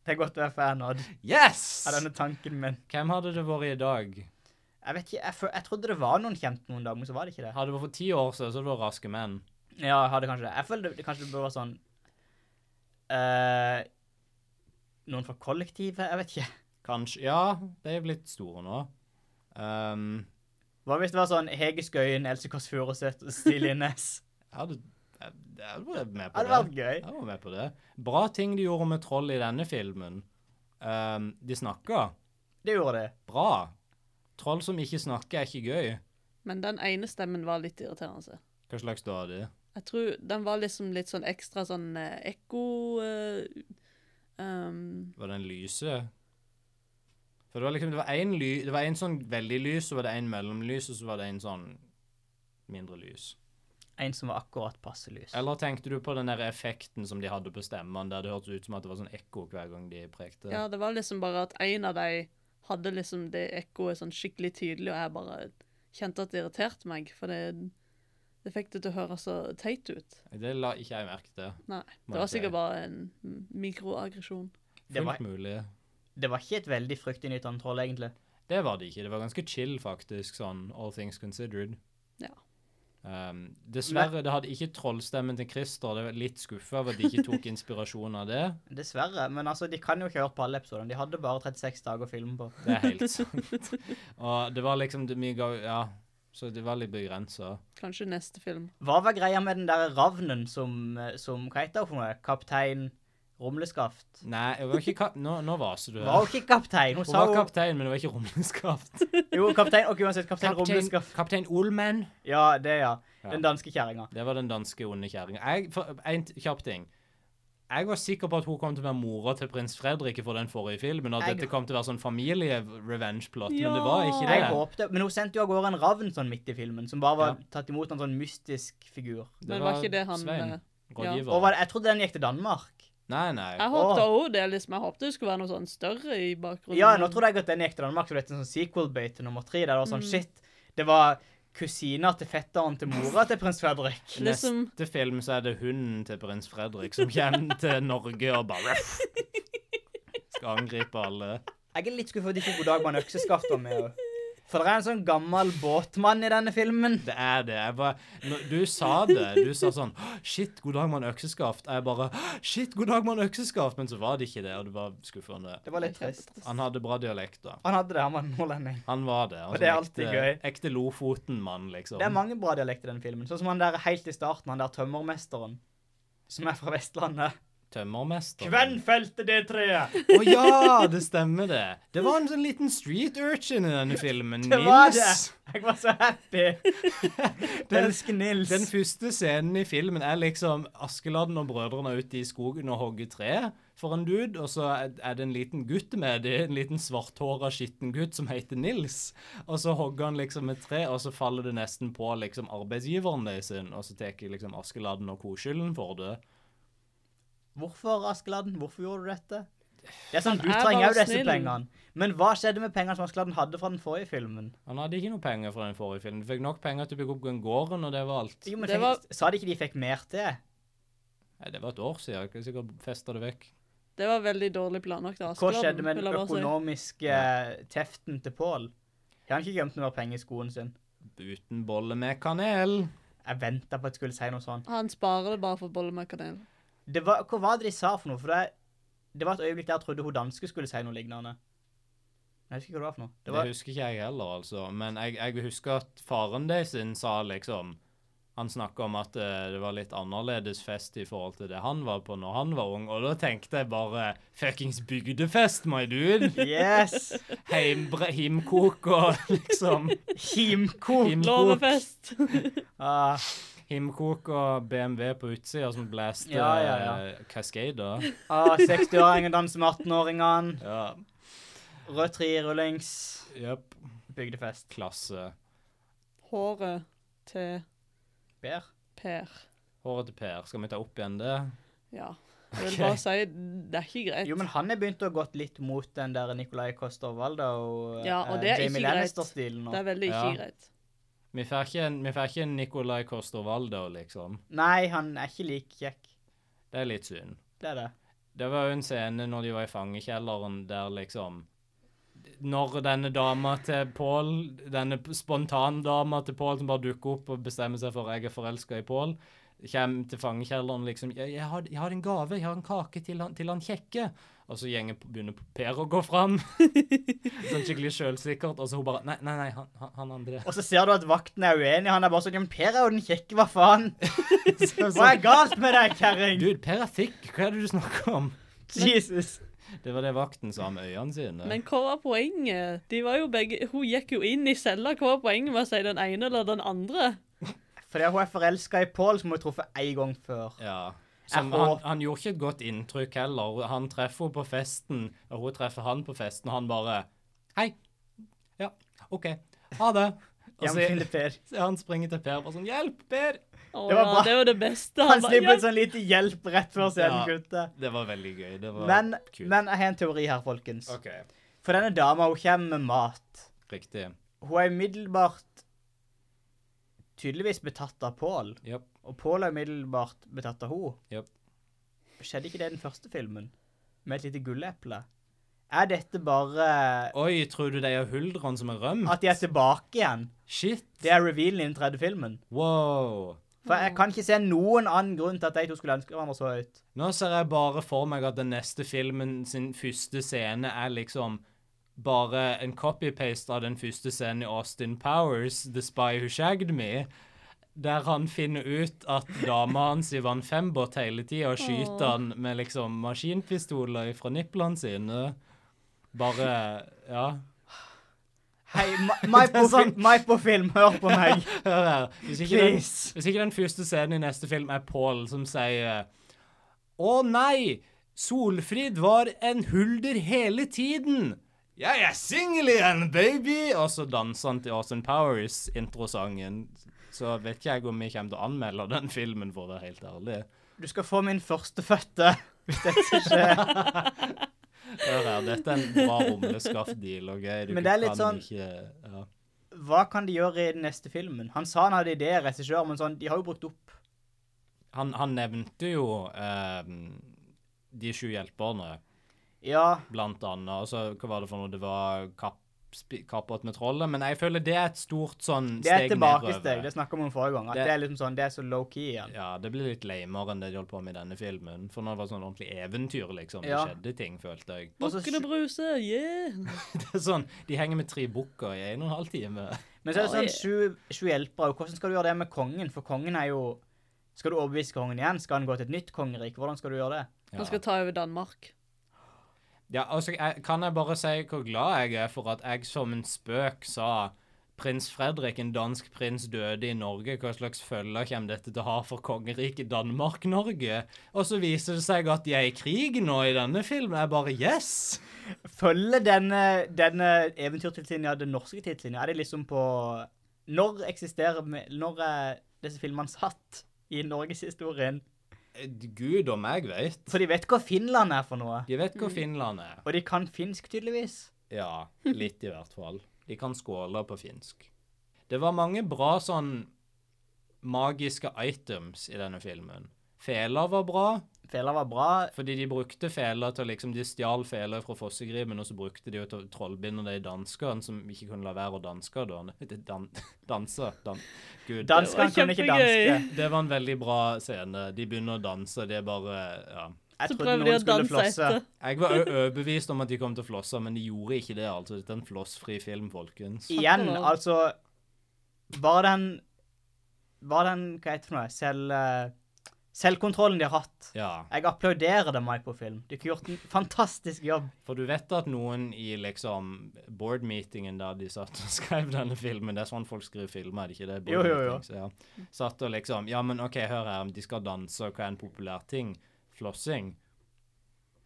S1: Det er godt å være fan av
S2: Yes!
S1: av denne tanken, men
S2: Hvem hadde det vært i dag?
S1: jeg vet ikke, jeg, fø- jeg trodde det var noen kjente noen dager, men så var det ikke det.
S2: Hadde det vært for ti år siden, så hadde det vært Raske menn.
S1: Ja, jeg hadde kanskje det. Jeg føler det, kanskje det burde være sånn eh, Noen fra kollektivet? Jeg vet ikke.
S2: Kanskje Ja, de er blitt store nå. Um,
S1: Hva hvis det var sånn Hege Skøyen, Else Kåss Furuseth og Silje Næss?
S2: jeg hadde, jeg, jeg hadde vært med på
S1: Hadde vært gøy.
S2: Jeg var med på det. Bra ting de gjorde med troll i denne filmen. Ehm, de snakka.
S1: Det gjorde det.
S2: Bra. Troll som ikke snakker, er ikke gøy.
S3: Men den ene stemmen var litt irriterende.
S2: Hva slags da er det?
S3: Jeg tror den var liksom litt sånn ekstra sånn eh, ekko eh, um,
S2: Var det en lyse? For det var liksom, det var en, ly, det var en sånn veldig lys, så var det en mellomlys, og så var det en sånn mindre lys.
S1: En som var akkurat passe lys.
S2: Eller tenkte du på den der effekten som de hadde på stemmene, der det hørtes ut som at det var sånn ekko hver gang de prekte?
S3: Ja, det var liksom bare at en av de hadde liksom det ekkoet sånn skikkelig tydelig, og jeg bare kjente at det irriterte meg, for det, det fikk det til å høre så teit ut.
S2: Det la ikke jeg merke til.
S3: Nei, det var
S2: Ok.
S3: sikkert bare en mikroaggresjon.
S1: Det var-
S2: Fullt mulig.
S1: Det var ikke et veldig fryktinngytende troll, egentlig.
S2: Det var det ikke. Det var ganske chill, faktisk, sånn all things considered.
S3: Ja.
S2: Um, dessverre, det hadde ikke trollstemmen til Christer. Det var litt skuffa over at de ikke tok inspirasjon av det.
S1: Dessverre. Men altså, de kan jo ikke høre på alle episodene. De hadde bare 36 dager å filme på.
S2: Det er helt sant. Og det var liksom det, vi ga, Ja, så det var litt begrensa.
S3: Kanskje neste film.
S1: Hva var greia med den der ravnen som, eh, som Hva heter hun for noe? Kaptein Rumleskaft?
S2: Nei, jeg var ikke kap... Nå, nå vaser du. her.
S1: Var hun ikke kaptein? Hun
S2: Hun
S1: sa
S2: var
S1: jo
S2: kaptein, men det var ikke rumleskaft.
S1: Jo, kaptein. Ok, uansett. Kaptein,
S2: Kaptein,
S1: Rumleskaft.
S2: kaptein Olmen.
S1: Ja, det, ja. Den
S2: Ja.
S1: danske kjerringa.
S2: Det var den danske onde kjerringa. Jeg- for- En t- kjapp ting. Jeg var sikker på at hun kom til å være mora til prins Fredrik for den forrige filmen. At
S1: Jeg-
S2: dette kom til å være sånn familie-revenge-plot, men det
S3: Ja.
S2: var ikke
S1: Jeg
S2: det.
S1: håpte Men hun sendte jo av gårde en ravn sånn midt i filmen, som bare var
S2: Ja.
S1: tatt imot av en sånn mystisk figur.
S2: Det
S3: Men var ikke det han,
S2: Svein,
S3: eh,
S2: rådgiver.
S1: Og var det, jeg trodde den gikk til Danmark.
S2: Nei, nei.
S3: Jeg håpte også det, liksom. Jeg håpte det skulle være noe sånn større i bakgrunnen.
S1: Ja, nå trodde jeg at den gikk til Danmark, så det er en sånn sequel-bait til nummer tre. Der det var sånn shit. Det var kusina til fetteren til mora til prins Fredrik.
S3: Liksom-
S2: Neste film så er det hunden til prins Fredrik som kommer til Norge og bare Skal angripe alle.
S1: Jeg er litt skuffet at ikke God dag mann økseskaft var med. også. For det er en sånn gammel båtmann i denne filmen.
S2: Det er det. Jeg bare, når du sa det. Du sa sånn «Åh, Shit, god dag, mann økseskaft. Jeg bare «Åh, Shit, god dag, mann økseskaft. Men så var det ikke det, og det var skuffende.
S1: Det var litt trist.
S2: Han hadde bra dialekt, da.
S1: Han hadde det, han var nordlending.
S2: Han var det. Altså,
S1: det er alltid
S2: ekte,
S1: gøy.
S2: Ekte Lofoten-mann, liksom.
S1: Det er mange bra dialekter i denne filmen. Sånn som han der helt i starten, han der tømmermesteren. Som er fra Vestlandet.
S2: Tømmermester.
S1: Hvem felte det treet?
S2: Å ja, det stemmer, det. Det var en sånn liten street urchin i denne filmen.
S1: Det var det!
S2: Nils.
S1: Jeg var så happy.
S2: Den-
S1: Elsker Nils.
S2: Den første scenen i filmen er liksom Askeladden og brødrene er ute i skogen og hogger tre for en dude, og så er er det en liten gutt med det, en liten svarthåra skitten gutt som heter Nils. Og så hogger han liksom et tre, og så faller det nesten på liksom arbeidsgiveren deres, og så tar liksom Askeladden og koskylden for det.
S1: Hvorfor, Askeladden? Hvorfor gjorde du dette? Det er sånn, Du
S3: er
S1: trenger jo
S3: bare
S1: disse
S3: snill.
S1: pengene. Men hva skjedde med pengene som Askeladden hadde fra den forrige filmen?
S2: Han hadde ikke noe penger fra den forrige filmen. De fikk nok penger til å bygge opp den gården, og det var alt.
S1: Jo, men
S3: Det
S1: fikk,
S3: var-
S1: Sa de ikke de fikk mer til?
S2: Nei, det var et år siden. Jeg kan sikkert festa det vekk.
S3: Det var veldig dårlig planlagt. av
S1: Hva
S3: Askeladden,
S1: skjedde med
S3: vil
S1: den
S3: jeg bare si.
S1: økonomiske eh, teften til Pål? Har han ikke gjemt noe penger i skoen sin?
S2: Uten bolle med kanel.
S1: Jeg venta på at jeg skulle si noe sånt.
S3: Han sparer det bare for bolle med kanel.
S1: Det var, hva var det de sa for noe? For det, det var et øyeblikk der jeg trodde hun danske skulle si noe lignende. Jeg husker ikke hva det var for noe.
S2: Det,
S1: Det var,
S2: husker ikke jeg heller, altså. Men jeg, jeg husker at faren deres sin sa liksom Han snakka om at eh, det var litt annerledes fest i forhold til det han var på når han var ung, og da tenkte jeg bare Fuckings bygdefest, my dude!
S1: yes!
S2: Heimbre, himkok og liksom
S1: Himkok!
S2: himkok.
S3: Lovefest!
S1: Ah,
S2: Himkoka BMW på utsida som blaster
S1: Ja, ja, ja.
S2: eh, Cascade. da.
S1: Ah, 60-åringen danser med 18-åringene.
S2: Ja.
S1: Rød trerullings.
S2: Jepp.
S1: Bygdefest.
S2: Klasse.
S3: Håret til
S1: Per.
S3: Per.
S2: Håret til Per. Skal vi ta opp igjen det?
S3: Ja. Jeg vil
S2: Ok.
S3: bare si det er ikke greit.
S1: Jo, men han er begynt å gått litt mot den der Nicolai Coster-Walda og,
S3: Ja, og
S1: eh,
S3: det er
S1: Jamie
S3: ikke greit.
S1: Lannister-stilen nå.
S3: Det er veldig ikke
S2: Ja.
S3: greit.
S2: Vi får ikke en, vi får ikke en Nicolai Coster-Waldau, liksom.
S1: Nei, han er ikke like kjekk.
S2: Det er litt synd.
S1: Det er det.
S2: Det var jo en scene når de var i fangekjelleren, der liksom Når denne dama til Pål, denne p- spontandama til Pål som bare dukker opp og bestemmer seg for at jeg er forelska i Pål, kommer til fangekjelleren liksom jeg, jeg, har, 'Jeg har en gave. Jeg har en kake til han, til han kjekke.' Og så gjenger, begynner Per å gå fram. sånn skikkelig sjølsikkert. Og så hun bare 'Nei, nei, nei, han, han- han andre'.
S1: Og så ser du at vakten er uenig. Han er bare sånn Ja, men Per er jo den kjekke, hva faen?
S2: Så-
S1: Hva
S2: så-
S1: er galt med deg, kjerring?
S2: Dude, Per er thick. Hva er det du snakker om?
S1: Jesus.
S2: Det var det vakten sa med øynene sine.
S3: Men hva var poenget? De var jo begge, hun gikk jo inn i cella. Hva var poenget med å si den ene eller den andre?
S1: Fordi hun er forelska i Pål, som hun har truffet én gang før.
S2: Ja. Som,
S1: Jeg
S2: han,
S1: håper-
S2: han gjorde ikke et godt inntrykk heller. Han treffer henne på festen, og hun treffer han på festen, og han bare Hei. Ja, OK. Ha det. Og
S1: Ja,
S2: så
S1: men fine Per.
S2: han springer til Per og bare sånn Hjelp, Per!
S3: Å,
S1: Det var
S3: ja,
S1: bra.
S3: det var det beste.
S1: Han
S3: bare,
S1: slipper
S3: «Ja,
S1: ut sånn lite hjelp rett før scenen
S2: Ja.
S1: kutter.
S2: Det var veldig gøy. Det var
S1: Men,
S2: kult.
S1: men jeg har en teori her, folkens.
S2: OK.
S1: For denne dama, hun kommer med mat.
S2: Riktig.
S1: Hun er umiddelbart tydeligvis betatt av Pål,
S2: Japp.
S1: og Pål er umiddelbart betatt av henne.
S2: Japp.
S1: Skjedde ikke det i den første filmen? Med et lite gulleple? Er dette bare
S2: Oi, tror du de har huldrene som er rømt?
S1: at de er tilbake igjen?
S2: Shit.
S1: Det er revealen i den tredje filmen.
S2: Wow.
S1: For jeg kan ikke se noen annen grunn til at de to skulle ønske hverandre så høyt.
S2: Nå ser jeg bare for meg at den neste filmen sin første scene er liksom bare en copy-paste av den første scenen i Austin Powers, The Spy Who Shagged Me, der han finner ut at dama hans i Van Fembot hele tida og skyter han med liksom maskinpistoler fra nipplene sine. Bare Ja.
S1: Hei, Maipo-film, hør på meg!
S2: Hør her. Hvis ikke, den,
S1: Please.
S2: hvis ikke den første scenen i neste film er Paul som sier Å nei! Solfrid var en hulder hele tiden! Jeg er singel igjen, baby! Og så danser han til Austin Powers-introsangen. Så vet ikke jeg om vi kommer til å anmelde den filmen, for å være helt ærlig.
S1: Du skal få min førstefødte. Hvis dette skjer.
S2: Hør her, dette er en bra rumleskaft-deal, OK? Du
S1: Men det er litt
S2: kan
S1: sånn-
S2: ikke, ja.
S1: Hva kan de gjøre i den neste filmen? Han sa han hadde ideer, regissør, men sånn, de har jo brukt opp.
S2: han, han nevnte jo eh, De sju hjelperne.
S1: Ja,
S2: blant annet. Og så, hva var det for noe? Det var kapp, spi- kappåt med trollet. Men jeg føler det er et stort sånn
S1: Det er et
S2: steg nedover.
S1: tilbakesteg. Det snakka vi om forrige gang. At
S2: Det-
S1: det, er liksom sånn, det er så low-key igjen.
S2: Ja, det blir litt lamere enn det de holdt på med i denne filmen. For nå var det sånn ordentlig eventyr, liksom.
S1: Ja.
S2: Det skjedde ting, følte jeg.
S1: Og så-
S3: Bukken og bruse, yeah!
S2: Det er sånn, De henger med tre bukker i en og en halv time.
S1: Men så er det
S3: Oi.
S1: sånn sju, sju hjelpere. og Hvordan skal du gjøre det med kongen? For kongen er jo Skal du overbevise kongen igjen? Skal han gå til et nytt kongerike? Hvordan skal du gjøre det?
S2: Ja.
S3: Han skal ta over Danmark.
S2: Ja, altså, jeg, kan jeg bare si hvor glad jeg er for at jeg som en spøk sa prins Fredrik, en dansk prins, døde i Norge. Hva slags følger kommer dette til å ha for kongeriket Danmark-Norge? Og så viser det seg at de er i krig nå i denne filmen. Jeg bare Yes!
S1: Følger denne, denne eventyrtidslinja den norske tidslinja? Er det liksom på Når eksisterer me- Når er disse filmene satt i norgeshistorien?
S2: Eh, Gud om jeg vet.
S1: For de vet hva Finland er for noe.
S2: De vet hvor Finland er.
S1: Og de kan finsk, tydeligvis.
S2: Ja, litt i hvert fall. De kan skåle på finsk. Det var mange bra sånn magiske items i denne filmen. Fela var bra.
S1: Fela var bra.
S2: Fordi de brukte feler til å liksom, De stjal feler fra fossegrimen, og så brukte de jo til å trollbinde det i danskene, som ikke kunne la være å danske da. Det- Dan, danse. Dan, Gud. Det,
S1: Danskene kan ikke
S3: kjempegøy.
S1: danske.
S2: det var en veldig bra scene. De begynner å danse, det er bare Ja.
S1: Jeg
S3: Så
S1: trodde
S3: prøver de
S1: noen
S3: å
S1: skulle
S3: danse
S1: flosse.
S3: etter.
S2: Jeg var ø- overbevist om at de kom til å flosse, men de gjorde ikke det. altså. Dette er en flossfri film, folkens.
S1: Igjen,
S3: Takk og lov.
S1: altså Var den Var den Hva heter det for noe? Selv, eh, Selvkontrollen de har hatt.
S2: Ja.
S1: Jeg applauderer dem, Mike, på film. De har gjort en fantastisk jobb.
S2: For du vet at noen i liksom board-meetingen da de satt og skrev denne filmen Det er sånn folk skriver filmer, er det ikke det?
S1: Jo, jo, jo.
S2: Board meetings, Ja. Satt og liksom Ja, men OK, hør her. De skal danse, og hva er en populær ting? Flossing.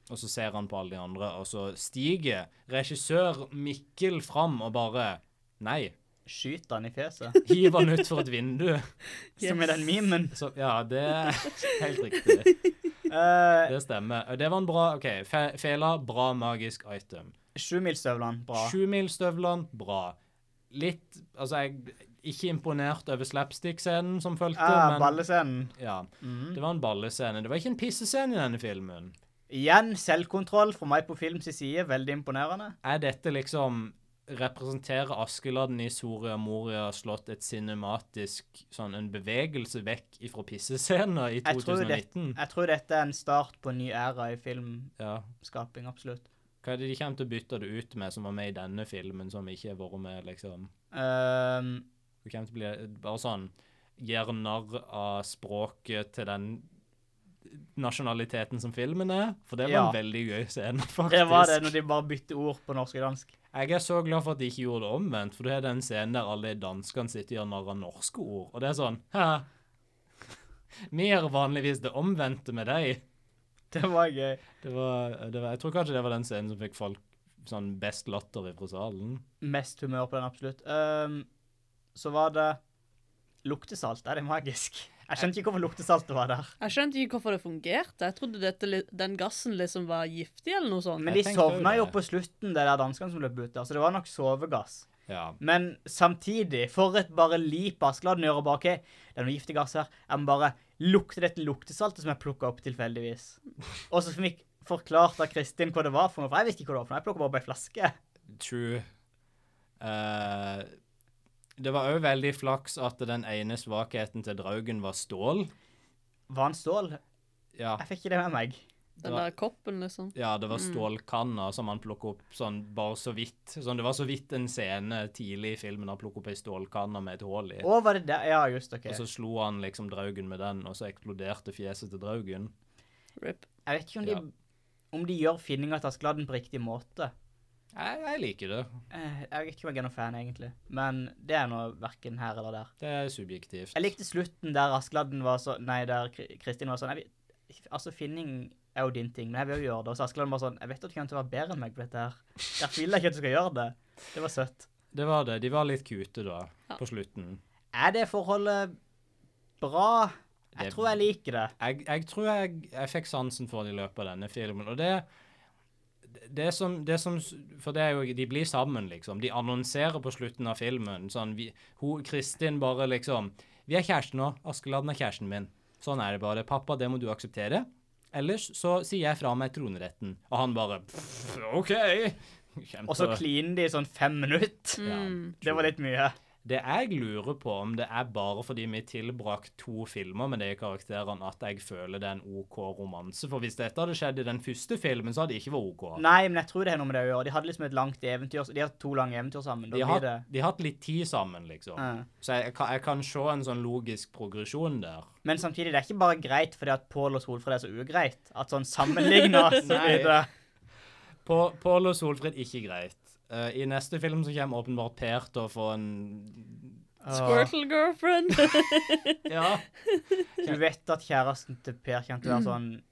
S2: Og så ser han på alle de andre, og så stiger regissør Mikkel fram og bare Nei.
S1: Skyter han i fjeset.
S2: Hiv han ut for et vindu.
S1: Som er den memen.
S2: Så, ja, det er helt riktig.
S1: Uh,
S2: Det stemmer. Og Det var en bra OK. fe- Fela, bra magisk item.
S1: Sjumilsstøvlene, bra. Eh,
S2: Sjumilsstøvlene, bra. Litt Altså, jeg ikke imponert over slapstick-scenen som fulgte,
S1: Ah,
S2: men
S1: ballescenen.
S2: ja. Det var en ballescene. Det var ikke en pissescene i denne filmen.
S1: Igjen selvkontroll fra meg på films side. Veldig imponerende.
S2: Er dette liksom Representerer Askeladden i Soria Moria slått et cinematisk sånn en bevegelse vekk ifra pissescener i
S1: Jeg tror, det,
S2: 2019?
S1: jeg tror dette er en start på en ny æra i filmskaping,
S2: Ja.
S1: absolutt.
S2: Hva er det de kommer til å bytte det ut med, som var med i denne filmen, som ikke har vært med, liksom?
S1: Ehm,
S2: Det kommer til å bli bare sånn Gjør narr av språket til den nasjonaliteten som filmen er. For det var
S1: Ja.
S2: en veldig gøy scene, faktisk.
S1: det var det når de bare bytter ord på norsk og dansk.
S2: Jeg er så glad for at de ikke gjorde det omvendt, for det er den scenen der alle danskene sitter og gjør narr av norske ord. Og det er sånn Hæ? Vi gjør vanligvis det omvendte med deg.
S1: Det var gøy.
S2: Det var, det var, jeg tror kanskje det var den scenen som fikk folk sånn best latter fra salen.
S1: Mest humør på den, absolutt. Ehm, så var det Luktesalt, er det magisk? Jeg skjønte ikke hvorfor luktesaltet var der.
S3: Jeg skjønte ikke hvorfor det fungerte. Jeg trodde dette, li- den gassen liksom var giftig eller noe sånt.
S1: Men de
S2: Jeg tenkte jo
S1: sovna jo
S2: det.
S1: på slutten, det der danskene som løp ut der, så det var nok sovegass.
S2: Ja.
S1: Men samtidig, for et bare lip Askeladden gjør, og bare OK, det er noe giftig gass her, jeg må bare lukte dette luktesaltet som jeg plukka opp tilfeldigvis. Og så fikk forklart av Kristin hva det var for noe, for jeg visste ikke hva det var for noe, jeg plukka bare opp ei flaske.
S2: True. Eh, det var òg veldig flaks at den ene svakheten til Draugen var stål.
S1: Var han stål?
S2: Ja,
S1: Jeg fikk ikke det med meg.
S2: det
S3: Den
S2: var-
S3: der koppen, liksom.
S2: ja det var stålkanner som han plukket opp sånn bare så vidt. Sånn, det var så vidt en scene tidlig i filmen han plukket opp ei stålkanne med et hull i.
S1: Å, var det der? Ja, just OK.
S2: Og så slo han liksom Draugen med den, og så eksploderte fjeset til Draugen.
S3: Rip.
S1: Jeg vet ikke om de,
S2: Ja.
S1: om de gjør finninga til Askeladden på riktig måte.
S2: Jeg, jeg liker det.
S1: Eh, Jeg vet ikke om jeg er noen fan, egentlig. Men det er nå verken her eller der.
S2: Det er subjektivt.
S1: Jeg likte slutten der Askeladden var så Nei, der Kri- Kristin var sånn jeg, vet- Altså, finning er jo din ting, men jeg vil jo gjøre det. Og så Askeladden bare sånn Jeg vet at du kommer til å være bedre enn meg på dette her. Jeg føler ikke at du skal gjøre det. Det var søtt.
S2: Det var det. De var litt kute da,
S3: Ja.
S2: på slutten.
S1: Er det forholdet bra? Jeg
S2: Det-
S1: tror jeg liker det.
S2: jeg, jeg tror jeg, jeg fikk sansen for det i løpet av denne filmen. Og det det som, det som For det er jo De blir sammen, liksom. De annonserer på slutten av filmen sånn vi, hun, Kristin bare liksom 'Vi er kjærester nå. Askeladden er kjæresten min.' Sånn er det bare. 'Pappa, det må du akseptere.' Ellers så sier jeg fra meg troneretten. Og han bare «Pff, 'OK'. Kjempe-
S1: Og så kliner de i sånn fem minutter.
S2: ja.
S1: Det var litt mye.
S2: Det jeg lurer på, om det er bare fordi vi tilbrakte to filmer med de karakterene, at jeg føler det er en OK romanse. For hvis dette hadde skjedd i den første filmen, så hadde det ikke vært OK.
S1: Nei, men jeg tror det har noe med det å gjøre. De hadde liksom et langt eventyr. De har to lange eventyr sammen. Da
S2: De har,
S1: blir det
S2: de har hatt litt tid sammen, liksom.
S1: Ja.
S2: Så jeg, jeg, kan, jeg kan se en sånn logisk progresjon der.
S1: Men samtidig, det er ikke bare greit fordi at Pål og Solfrid er så ugreit. At sånn sammenligna så
S2: Nei.
S1: blir det
S2: På- Pål og Solfrid, ikke greit. Eh, I neste film så kommer åpenbart Per til å få en
S3: Squirtle girlfriend.
S2: Ja.
S1: Du vet at kjæresten til Per kjente å være sånn
S2: Mm.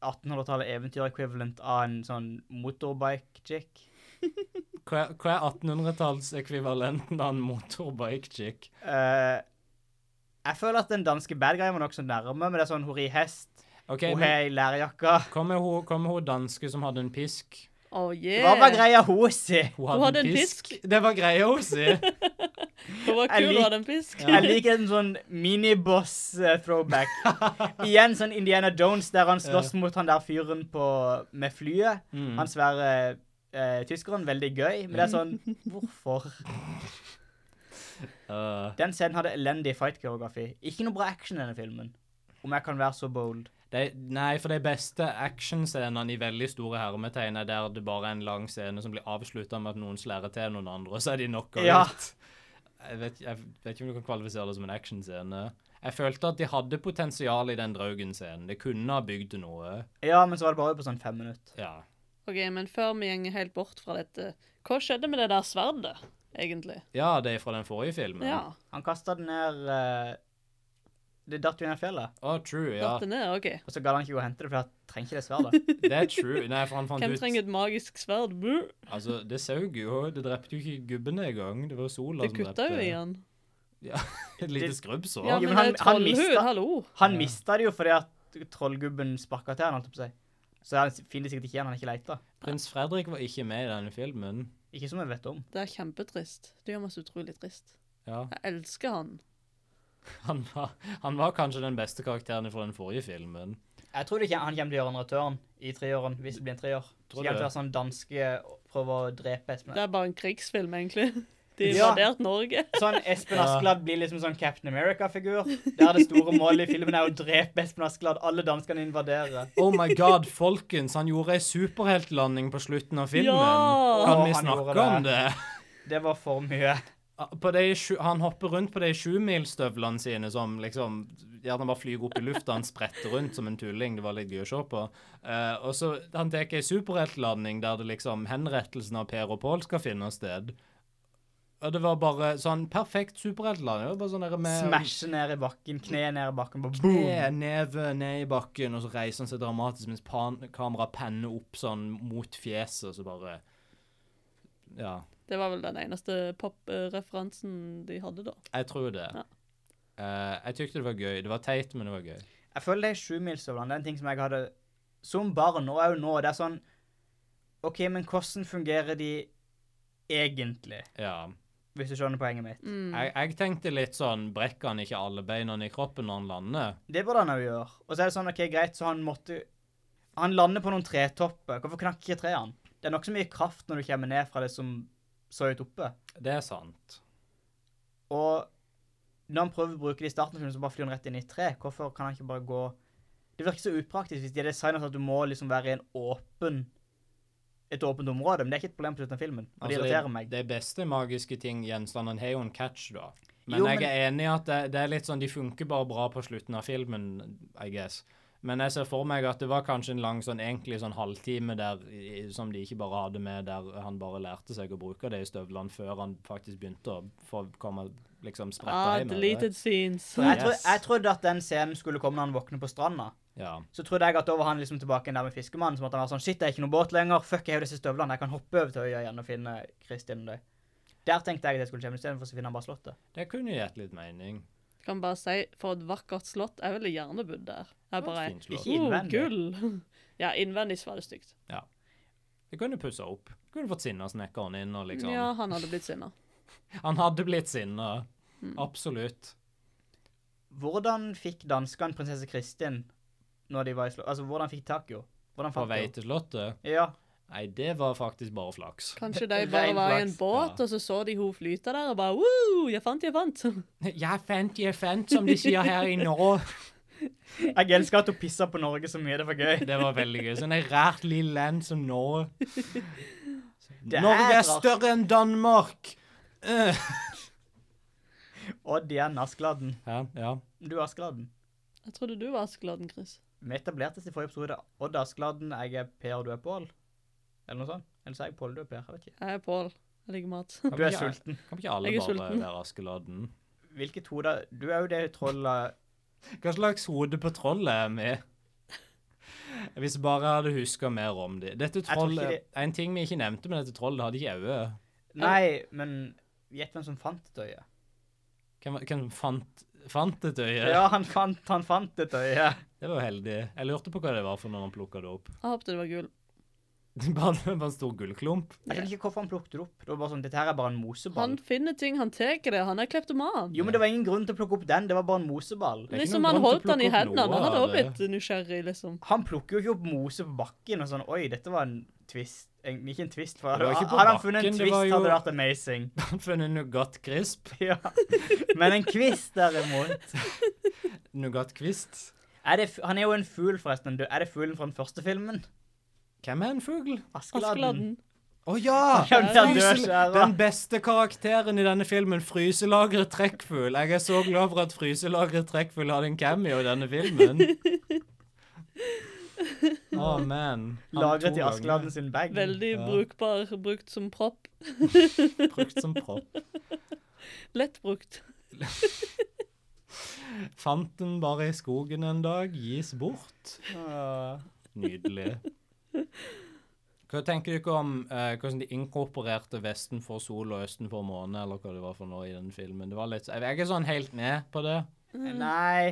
S1: 1800-tallet eventyr-equivalent av en sånn motorbike-chick.
S2: Hva, hva er 1800-tallsekvivalenten av en motorbike-chick?
S1: Eh, jeg føler at den danske bad guyen var nokså nærme, men det er sånn hun rir hest,
S2: Okay,
S1: hun
S2: men
S1: har ei lærjakke.
S2: Kommer hun, kom hun danske som hadde en pisk?
S3: Oh
S1: Hva var
S3: yeah.
S1: greia hun si?
S2: Hun
S3: Hun hadde en pisk.
S2: Det var greia hun si.
S3: Det var
S1: Jeg
S3: kul
S1: lik-
S3: å ha den pisk.
S1: Jeg liker en sånn miniboss-throwback. Igjen sånn Indiana Jones der han slåss mot han der fyren på, med flyet. Han svære eh, tyskeren. Veldig gøy. Men det er sånn Hvorfor?
S2: Uh,
S1: Den scenen hadde elendig fight-koreografi. Ikke noe bra action i denne filmen. Om jeg kan være så bold.
S2: de, nei, for de beste actionscenene i veldig store hermetegn er der det bare er en lang scene som blir avslutta med at noen slærer til noen andre, og så er de knocka
S1: Ja.
S2: ut. jeg vet, jeg vet ikke om du kan kvalifisere det som en actionscene. Jeg følte at de hadde potensial i den Draugen-scenen. Det kunne ha bygd noe.
S1: Ja, men så var det bare på sånn fem minutter.
S2: Ja.
S3: OK, men før vi gjenger helt bort fra dette, hva skjedde med det der sverdet, egentlig?
S2: ja, det er fra den forrige filmen.
S3: Ja,
S1: Han kasta den ned eh, Det datt jo ned fjellet.
S2: Å, true, ja.
S3: datt det ned? OK.
S1: Og så gadd han ikke gå og hente det, for jeg trenger ikke det sverdet.
S2: Det er true. Nei, for han fant
S3: Hvem
S2: ut
S3: trenger et magisk sverd? Buh!
S2: Altså, det saug jo. Det drepte jo ikke gubbene engang. Det var jo sola
S3: Det
S2: som drepte.
S3: kutta jo i han.
S2: Ja, Et lite skrubbsår.
S3: Ja,
S1: men
S3: men det
S1: han-
S3: er
S1: han
S3: trollhud,
S1: mista-
S3: hallo!
S1: Han mista det jo fordi at trollgubben sparka til han, holdt jeg på å si. Så han finner det sikkert ikke igjen, han har ikke leita.
S2: Prins Fredrik var ikke med i denne filmen.
S1: Ikke som jeg vet om.
S3: Det er kjempetrist. Det gjør meg så utrolig trist.
S2: Ja,
S3: Jeg elsker han.
S2: han var, han var kanskje den beste karakteren fra den forrige filmen.
S1: Jeg tror det ikke, han kommer til å gjøre en return i treåren, hvis det blir en treår. Så
S2: Tror
S1: kommer det
S2: du?
S1: til å være sånn danske prøve å drepe Espen
S3: Det er bare en krigsfilm, egentlig. De
S1: Ja.
S3: invaderte Norge.
S1: Sånn Espen
S2: Ja.
S1: Askeladd blir liksom sånn Captain America-figur. Der det store målet i filmen er å drepe Espen Askeladd. Alle danskene invaderer.
S2: Oh my god, folkens, han gjorde ei superheltlanding på slutten av filmen.
S3: Ja!
S2: Kan
S1: Å,
S2: vi
S1: han
S2: snakke
S1: gjorde
S2: om det?
S1: Det var for mye.
S2: På de, sju- han hopper rundt på de sjumilsstøvlene sine som liksom Gjerne bare flyr opp i lufta, han spretter rundt som en tulling. Det var litt gøy å se på. Eh, og så Han tar ei superheltlanding der det liksom henrettelsen av Per og Pål skal finne sted. Og det var bare sånn perfekt superheltlanding. Det var Bare sånn der med
S1: Smasje ned i bakken, kne ned i bakken, bare
S2: Ned,
S1: boom!
S2: neve ned i bakken, og så reiser han seg dramatisk mens pan, kameraet penner opp sånn mot fjeset, og så bare Ja.
S3: Det var vel den eneste pop-referansen de hadde, da.
S2: Jeg tror det.
S3: Ja.
S2: Eh, jeg tykte det var gøy. Det var teit, men det var gøy.
S1: Jeg føler de sjumilsstøvlene det er en ting som jeg hadde som barn, og òg nå. Det er sånn OK, men hvordan fungerer de egentlig?
S2: Ja.
S1: Hvis du skjønner poenget mitt.
S3: Mm.
S2: Jeg, jeg tenkte litt sånn Brekker han ikke alle beina i kroppen når han lander?
S1: Det burde han òg gjøre. Og så er det sånn, ok, greit, så han måtte Han lander på noen tretopper. Hvorfor knakk ikke trærne? Det er nokså mye kraft når du kommer ned fra det som så høyt oppe.
S2: Det er sant.
S1: Og når han prøver å bruke det i starten, av filmen, så bare flyr han rett inn i et tre. Hvorfor kan han ikke bare gå Det virker så upraktisk hvis de er designet sånn at du må liksom være i en åpen et åpent område, men det er ikke et problem på slutten av filmen. Og det
S2: Altså,
S1: irriterer meg.
S2: Det beste magiske ting, gjenstandene, har jo en catch, da. Men
S1: Jo, men-
S2: jeg er enig i at det, det er litt sånn, de funker bare bra på slutten av filmen, I guess. Men jeg ser for meg at det var kanskje en lang sånn, egentlig sånn halvtime der, i- som de ikke bare hadde med, der han bare lærte seg å bruke det i støvlene før han faktisk begynte å få komme, liksom sprette
S3: Ah,
S2: hjem. eller?
S3: deleted scenes.
S1: For jeg, tro,
S2: Yes.
S1: jeg trodde at den scenen skulle komme når han våkner på stranda.
S2: Ja.
S1: Så trodde jeg at da var han liksom tilbake igjen der med fiskemannen. Så måtte han være sånn Shit, det er ikke noen båt lenger. Fuck, jeg har jo disse støvlene. Jeg kan hoppe over til øya igjen og finne Kristin og deg. Der tenkte jeg at jeg skulle komme istedenfor, så finner han bare slottet.
S2: Det kunne jo gitt litt mening.
S3: Kan bare si, for et vakkert slott. Jeg ville gjerne bodd der.
S2: Det var
S3: Jeg bare
S2: et fint slott.
S1: Ikke
S3: Oh,
S1: innvendig.
S3: gull! Ja, innvendig så var det stygt.
S2: Det kunne pussa opp. Det kunne fått sinna snekkeren inn og liksom
S3: Ja, han hadde blitt sinna.
S2: Han hadde blitt sinna.
S3: Mm.
S2: Absolutt.
S1: Hvordan fikk danskene prinsesse Kristin når de var i slott? Altså, hvordan fikk de tak i henne? Hvordan
S2: På
S1: fant de
S2: vei
S1: henne?
S2: til slottet.
S1: Ja.
S2: Nei, det var faktisk bare flaks.
S3: Kanskje de
S1: Rein
S3: bare var i en
S1: flaks,
S3: båt,
S2: ja.
S3: og så så de hun flyte der, og bare Woo, jeg fant, jeg fant.
S2: Jeg fant, jeg fant, som de sier her i Norge.
S1: Jeg elsker at hun pissa på Norge så mye. Det var gøy.
S2: Det var veldig gøy. Sånn et rært lille land som Norge.
S1: Det er
S2: Norge er
S1: rart.
S2: større enn Danmark! Eh.
S1: Odd igjen, Askeladden.
S2: Ja, ja.
S1: Du er Askeladden.
S3: Jeg trodde du var Askeladden, Chris.
S1: Vi etablerte oss i forrige episode. Odd er Askeladden, jeg er Per, du er Pål. Eller noe sånt. Eller så er jeg Pål, du er Per. Jeg vet ikke.
S3: Jeg er Pål. Jeg liker mat.
S1: Du er sulten.
S2: Kan ikke alle
S3: Jeg er
S2: bare
S3: sulten.
S2: være Askeladden?
S1: Hvilket hode Du er jo det trollet
S2: Hva slags hode på trollet er vi? Hvis bare jeg hadde huska mer om de. Dette
S1: tror ikke
S2: trollet, En ting vi ikke nevnte med dette trollet, det hadde ikke øye.
S1: Nei, men gjett hvem som fant et øye.
S2: Hvem, hvem fant, fant et øye?
S1: Ja, han fant, han fant et øye.
S2: Det var jo heldig. Jeg lurte på hva det var for når han plukka det opp.
S3: Jeg håpte det var gull.
S2: Bare det var en stor gullklump.
S1: Jeg skjønner ikke hvorfor han plukket det opp. Det var bare sånn, dette her er bare en moseball.
S3: Han finner ting, han tar det. Han er kleptoman.
S1: Jo, men det var ingen grunn til å plukke opp den. Det var bare en moseball.
S2: er ikke
S3: Liksom
S2: noen grunn
S3: han
S2: til å
S3: holdt han i
S2: plukke opp
S3: hendene.
S2: noe
S3: Han hadde
S2: av
S3: også
S2: det.
S3: blitt nysgjerrig, liksom.
S1: Han plukker jo ikke opp mose på bakken og sånn Oi, dette var en twist. Egentlig ikke en twist. For
S2: Det var
S1: hadde,
S2: ikke på
S1: hadde han funnet
S2: bakken,
S1: en
S2: det
S1: twist,
S2: var jo-
S1: hadde det vært amazing.
S2: Han funnet nougat-krisp.
S1: Ja. Men en kvist, derimot
S2: Nougat-kvist.
S1: er det, f- Han er jo en fugl, forresten. Du- Er det fuglen fra den første filmen?
S2: Hvem er en fugl?
S1: Askeladden.
S3: Askeladden.
S2: Å ja!
S1: Ja, men den
S2: Frysel-
S1: dørskjæra.
S2: Den beste karakteren i denne filmen, Fryselageret Trekkfugl. Jeg er så glad for at Fryselageret Trekkfugl hadde en cameo i denne filmen. Å, man. Han
S1: Lagret
S2: to
S1: i Askeladden
S2: ganger.
S1: sin bag.
S3: Veldig
S2: Ja.
S3: brukbar, brukt som propp.
S2: Brukt som propp.
S3: Lett brukt.
S2: Fant den bare i skogen en dag. Gis bort.
S1: Åh.
S2: Nydelig. Hva tenker dere om eh, hvordan de inkorporerte Vesten for sol og Østen for måne, eller hva det var for noe i den filmen? Det var litt, jeg er ikke sånn helt med på det.
S1: Mm. Nei.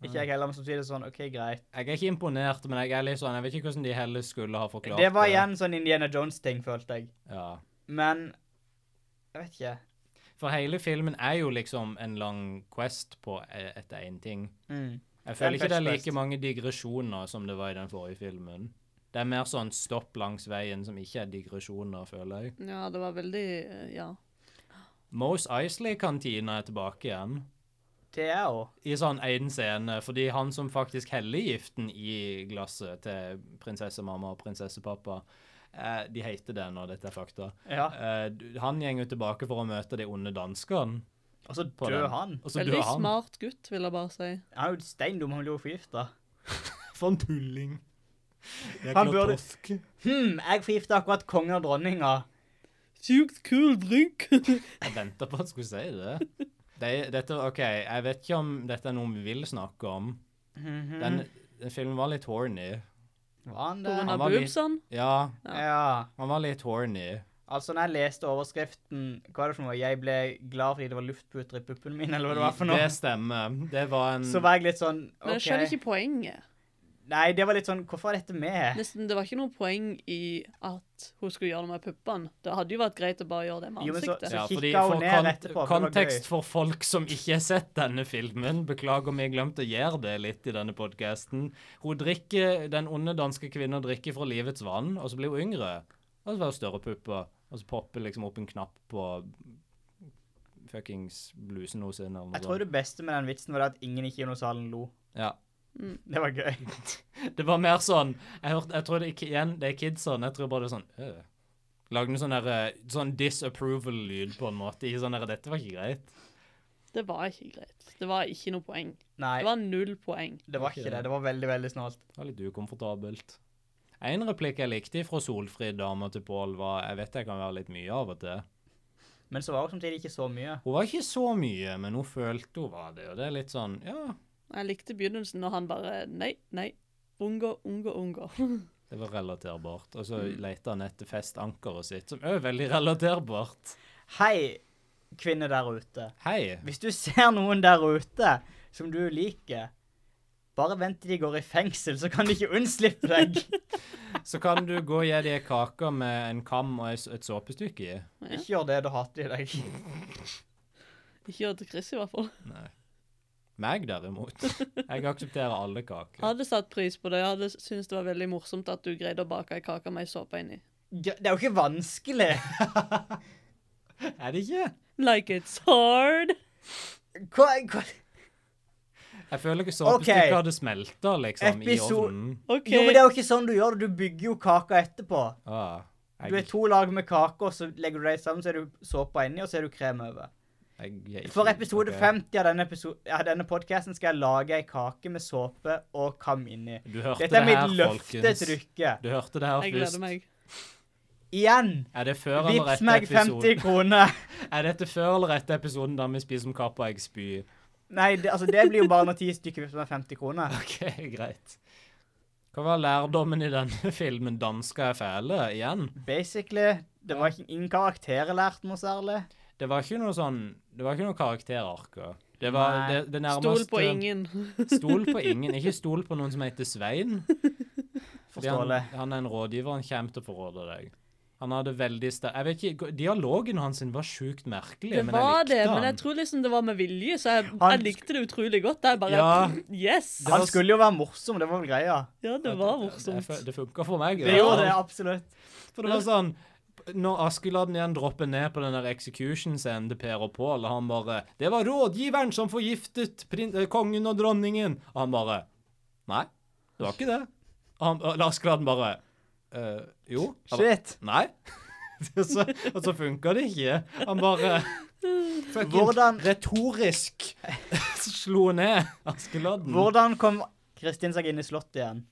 S1: Ikke jeg heller, men samtidig sånn OK, greit.
S2: Jeg er ikke imponert, men jeg er litt sånn, jeg vet ikke hvordan de heller skulle ha forklart
S1: Det var igjen sånn Indiana Jones-ting, følte jeg.
S2: Ja.
S1: Men jeg vet ikke.
S2: For hele filmen er jo liksom en lang quest på e- etter én ting.
S1: Mm.
S2: Jeg
S1: Det er en
S2: føler ikke det er
S1: fetch quest.
S2: like mange digresjoner som det var i den forrige filmen. Det er mer sånn stopp langs veien som ikke er digresjoner, føler jeg.
S3: Ja, det var veldig eh, Ja.
S2: Mose Isley-kantina er tilbake igjen.
S1: Det er jo
S2: I sånn én scene, fordi han som faktisk heller giften i glasset til prinsessemamma og prinsessepappa, eh, de heter det nå, dette er fakta.
S1: Ja.
S2: Eh, du- han går jo tilbake for å møte de onde danskene.
S1: Og så
S2: på
S1: dør
S2: den.
S1: han.
S2: Og så dør
S3: Veldig
S2: han.
S3: smart gutt, vil jeg bare si.
S1: Han er jo steindum, han blir jo forgifta.
S2: For en tulling.
S1: Han noe burde- Hm, jeg forgifta akkurat kongen og dronninga.
S3: Sjukt kul drink.
S2: Jeg venta på at du skulle si det. det dette, OK, jeg vet ikke om dette er noe vi vil snakke om.
S1: Mhm.
S2: Den, den filmen var litt horny.
S1: Var han
S3: På
S1: det?
S3: grunn av
S2: var litt-
S3: boobsene.
S2: Ja,
S1: Ja.
S2: han var litt horny.
S1: Altså, når jeg leste overskriften, hva var det for noe? Jeg ble glad fordi det var luftputer i puppene mine, eller hva det var for noe?
S2: Det stemmer. Det var en
S1: Så var jeg litt sånn
S3: Men jeg skjønner
S1: OK.
S3: ikke poenget.
S1: Nei, det var litt sånn Hvorfor er dette med?
S3: Nesten, Det var ikke noe poeng i at hun skulle gjøre noe med puppene. Det hadde jo vært greit å bare gjøre det med
S1: Jo, men så-
S3: ansiktet.
S1: så-
S2: ja, fordi
S1: kikka hun
S2: for
S1: ned
S2: kon
S1: etterpå, for det var
S2: Kontekst
S1: gøy.
S2: for folk som ikke har sett denne filmen. Beklager om jeg glemte å gjøre det litt i denne podkasten. Den onde danske kvinna drikker fra livets vann, og så blir hun yngre. Og så får hun større pupper. Og så popper liksom opp en knapp på fuckings blusen hennes. eller noe
S1: Jeg tror
S2: sånt.
S1: det beste med den vitsen var det at ingen i kinosalen lo.
S2: Ja.
S1: Det var gøy.
S2: Det var mer sånn Jeg, hørte, jeg tror det ikke igjen, det er kidson. Jeg tror bare det er sånn øh. Lagde en sånn, der, eh, sånn disapproval-lyd, på en måte. I sånn der, Dette var ikke greit.
S3: Det var ikke greit. Det var ikke noe poeng.
S1: Nei,
S3: Det var null poeng.
S1: det var ikke det. Det var veldig, veldig snålt.
S2: Det var litt ukomfortabelt. En replikk jeg likte fra Solfrid dama til Pål, var Jeg vet jeg kan være litt mye av og til.
S1: Men så var det samtidig ikke så mye.
S2: Hun var ikke så mye, men hun følte hun var det, og det er litt sånn Ja,
S3: Jeg likte begynnelsen når han bare Nei, nei. Unngå, unngå, unngå.
S2: det var relaterbart. Og så
S1: Mm.
S2: leita han etter festankeret sitt, som òg er veldig relaterbart.
S1: Hei, kvinne der ute.
S2: Hei.
S1: Hvis du ser noen der ute som du liker, bare vent til de går i fengsel, så kan de ikke unnslippe deg.
S2: Så kan du gå og gi dem ei kake med en kam og ei s- et såpestykke i.
S1: Ikke gjør det, da hater de deg.
S3: Ikke gjør det til Chris, i hvert fall.
S2: Meg, derimot. Jeg aksepterer alle
S3: Jeg
S2: kaker.
S3: hadde satt pris på det. Jeg hadde syntes det var veldig morsomt at du greide å bake ei kake med ei såpe inni.
S1: Ja, Det er jo ikke vanskelig.
S2: Er det ikke?
S3: Like it's hard.
S1: Hva, hva?
S2: Jeg føler ikke såpestykket
S1: Ok.
S2: hadde smelta, liksom, i
S1: Episo-
S2: ovnen.
S3: OK.
S1: Jo, men det er jo ikke sånn du gjør det. Du bygger jo kaka etterpå.
S2: Ah,
S1: Du er
S2: jeg,
S1: to lag med kake, og så legger du dem sammen, så er du såpa inni, og så er du krem over.
S2: jeg, jeg,
S1: For episode
S2: ok.
S1: 50 av denne, episo- av denne podkasten skal jeg lage ei kake med såpe og kam inni.
S2: Du hørte
S1: Dette er
S2: det her,
S1: mitt løfte
S2: folkens.
S1: til dere.
S2: Du hørte det her
S3: Jeg
S2: først.
S3: gleder meg.
S1: Igjen!
S2: Er det før eller
S1: Vips
S2: etter
S1: meg
S2: episoden?
S1: 50 kroner.
S2: Er dette før eller etter episoden der vi spiser om kapp og jeg spyr?
S1: Nei, det, altså, det blir jo bare når ti stykker vipser meg 50 kroner.
S2: OK, greit. Hva var lærdommen i denne filmen? Dansker er fæle, igjen.
S1: Basically, det var ikke ingen karakterer lært noe særlig.
S2: Det var ikke noe sånn Det var ikke noe karakterarker. Det var det,
S1: Nei.
S2: det nærmeste
S3: Stol på ingen.
S2: Stol på ingen. Ikke stol på noen som heter Svein. Fordi han,
S1: Forståelig.
S2: han er en rådgiver, han kommer til å forråde deg. Han hadde veldig sterk Jeg vet ikke, Dialogen hans sin var sjukt merkelig,
S3: Det
S2: men jeg
S3: var
S2: likte
S3: det,
S2: han.
S3: men jeg tror liksom det var med vilje, så jeg,
S1: Han-
S3: jeg likte det utrolig godt. Jeg bare
S2: Ja.
S3: Yes!
S2: Det var-
S1: Han skulle jo være morsom, det var vel greia.
S3: Ja, det var
S2: Det,
S3: morsomt.
S2: fu- det funka for meg.
S1: Det
S2: i hvert
S1: gjorde det,
S2: fall.
S1: absolutt.
S2: For det var sånn Når Askeladden igjen dropper ned på den der execution-scenen til Per og Pål, og han bare 'Det var rådgiveren som forgiftet prin eh, kongen og dronningen.' Og han bare 'Nei, det var ikke det.' Og han- og Askeladden bare «Eh, 'Jo.' Han bare,
S1: Shit.
S2: Nei. så, og så funka det ikke. Han bare fucking
S1: Hvordan-
S2: retorisk slo ned Askeladden.
S1: Hvordan kom Kristin seg inn i slottet igjen?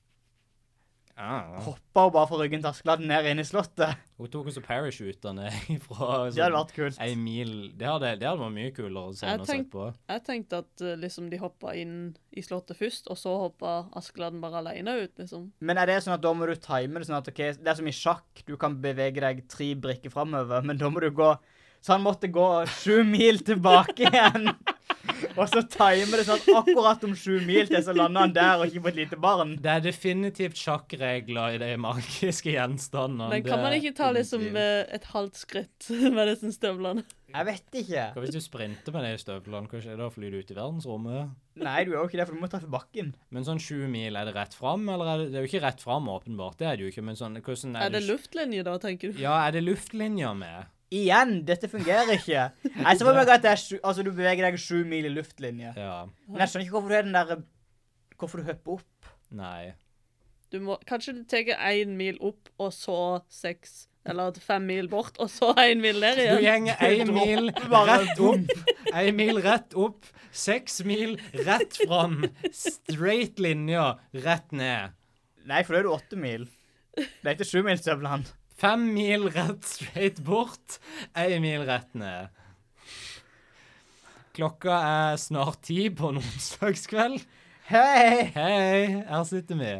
S2: Ja.
S1: Hoppa hun bare fra ryggen til Askeladden ned inn i slottet?
S2: Hun tok også parachutene ifra
S1: Det hadde vært kult.
S2: ei mil Det hadde, det hadde vært mye kulere å se
S3: Jeg
S2: enn å
S3: tenk-
S2: sett på.
S3: Jeg tenkte at eh, liksom de hoppa inn i slottet først, og så hoppa Askeladden bare alene ut, liksom.
S1: Men er det sånn at da må du time det sånn at ok, det er som i sjakk, du kan bevege deg tre brikker framover, men da må du gå Så han måtte gå sju mil tilbake igjen. Og så time det sånn at akkurat om sju mil til, så lander han der og ikke på et lite barn.
S2: Det er definitivt sjakkregler i de magiske gjenstandene.
S3: Men kan
S2: det
S3: man
S2: er
S3: ikke ta
S2: ingen
S3: liksom
S2: tvil.
S3: eh, et halvt skritt med disse støvlene?
S1: Jeg vet ikke.
S2: Hva hvis du sprinter med de støvlene? Hva skjer da? Flyr du ut i verdensrommet?
S1: Nei, du gjør jo ikke det, for du må treffe bakken.
S2: Men sånn 20 mil, er det rett fram, eller er det, det er jo ikke rett fram, åpenbart. Det er det jo ikke, men sånn hvordan er,
S3: Er det luftlinje, da, tenker du?
S2: Ja, er det luftlinja med?
S1: Igjen, dette fungerer ikke. Jeg ser for meg at det er sju, altså, du beveger deg sju mil i luftlinje.
S2: Ja.
S1: Men jeg skjønner ikke hvorfor du er den der Hvorfor du hopper opp.
S2: Nei.
S3: Du må, kanskje du tar én mil opp, og så seks eller fem mil bort, og så én mil
S2: Du
S3: ned igjen?
S2: gjenger én mil
S1: bare
S2: rett opp, én mil rett opp, seks mil rett fram, straight linja rett ned.
S1: Nei, for da er du åtte mil. Det er ikke sjumilsstøvlene.
S2: Fem mil rett straight bort, én mil rett ned. Klokka er snart ti på en onsdagskveld.
S1: Hei!
S2: Hei, her sitter vi.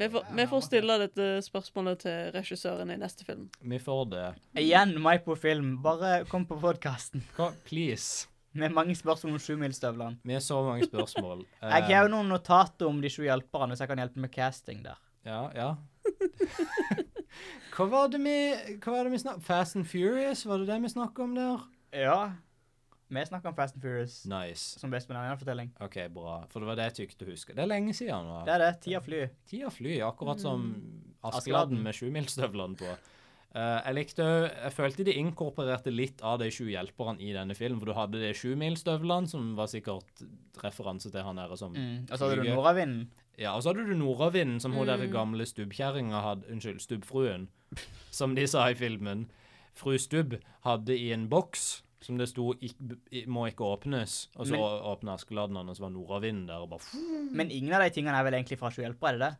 S3: Vi får, vi får stille dette spørsmålet til regissøren i neste film.
S2: Vi får det.
S1: Igjen meg på film. Bare kom på podkasten
S2: Hva, please.
S1: med mange spørsmål om sjumilsstøvlene.
S2: Vi har så mange spørsmål.
S1: Jeg har
S2: Eh,
S1: jo noen notater om de sju hjelperne, så jeg kan hjelpe med casting der.
S2: ja, ja. hva var det vi, hva var det vi snakket Fast and Furious, var det det vi snakket om der?
S1: Ja. Vi snakker om Fast and Furious
S2: Mm. Nice.
S1: som best med en annen fortelling.
S2: Ok, bra. For det var det jeg tykte å huske. Det er lenge siden nå.
S1: Det er det. Tida flyr.
S2: Tida flyr, akkurat som
S1: Mm.
S2: Askeladden
S1: Askeladden.
S2: med sjumilsstøvlene på. Eh, jeg likte òg Jeg følte de inkorporerte litt av de sju hjelperne i denne filmen. For du hadde de sjumilsstøvlene, som var sikkert referanse til han her som
S1: Mm. Og så hadde du
S2: Flyger.
S1: nordavinden.
S2: Ja, og så hadde du nordavinden, som hun der
S1: Mm.
S2: gamle stubbkjerringa hadde Unnskyld, stubbfruen, som de sa i filmen. Fru Stubb hadde i en boks som det sto ikk- i- 'må ikke åpnes', og så
S1: Men-
S2: åpna Askeladden, og så var nordavinden der og bare fff.
S1: Men ingen av de tingene er vel egentlig fra sju hjelpere, er det det?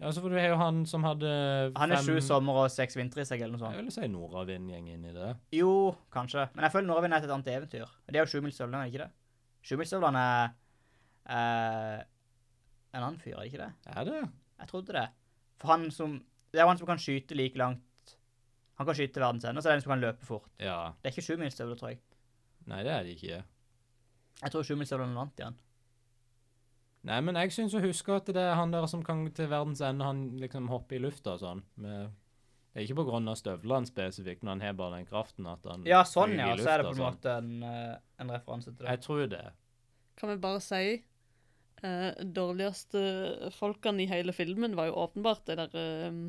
S2: Ja, så for du har jo han som hadde
S1: Han er
S2: fem-
S1: sju sommer og seks vintre i seg, eller noe
S2: Jeg
S1: sånt.
S2: vil si nordavind gjeng inn i det.
S1: Jo, kanskje. Men jeg føler Nordavind er et annet eventyr. Det er jo Sjumilsstøvlene, er det ikke det? Sjumilsstøvlene er eh, en annen fyr, er det ikke det?
S2: Er det?
S1: Jeg trodde det. For han som Det er jo han som kan skyte like langt Han kan skyte til verdens ende, og så er det en som kan løpe fort.
S2: Ja.
S1: Det er ikke sjumilsstøvler, tror jeg.
S2: Nei, det er det ikke.
S1: Jeg tror sjumilsstøvlene vant igjen.
S2: Nei, men jeg syns å huske at det er han der som kan til verdens ende, han liksom hopper i lufta og sånn. Med det er ikke på grunn av støvlene spesifikt, men han har bare den kraften at han
S1: Ja, sånn,
S2: flyger i
S1: ja. Så
S2: lufta
S1: er det på
S2: og
S1: en
S2: sånn.
S1: måte en, eh, en referanse til det.
S2: Jeg tror det.
S3: Kan vi bare si eh, Dårligste folkene i hele filmen var jo åpenbart de der eh,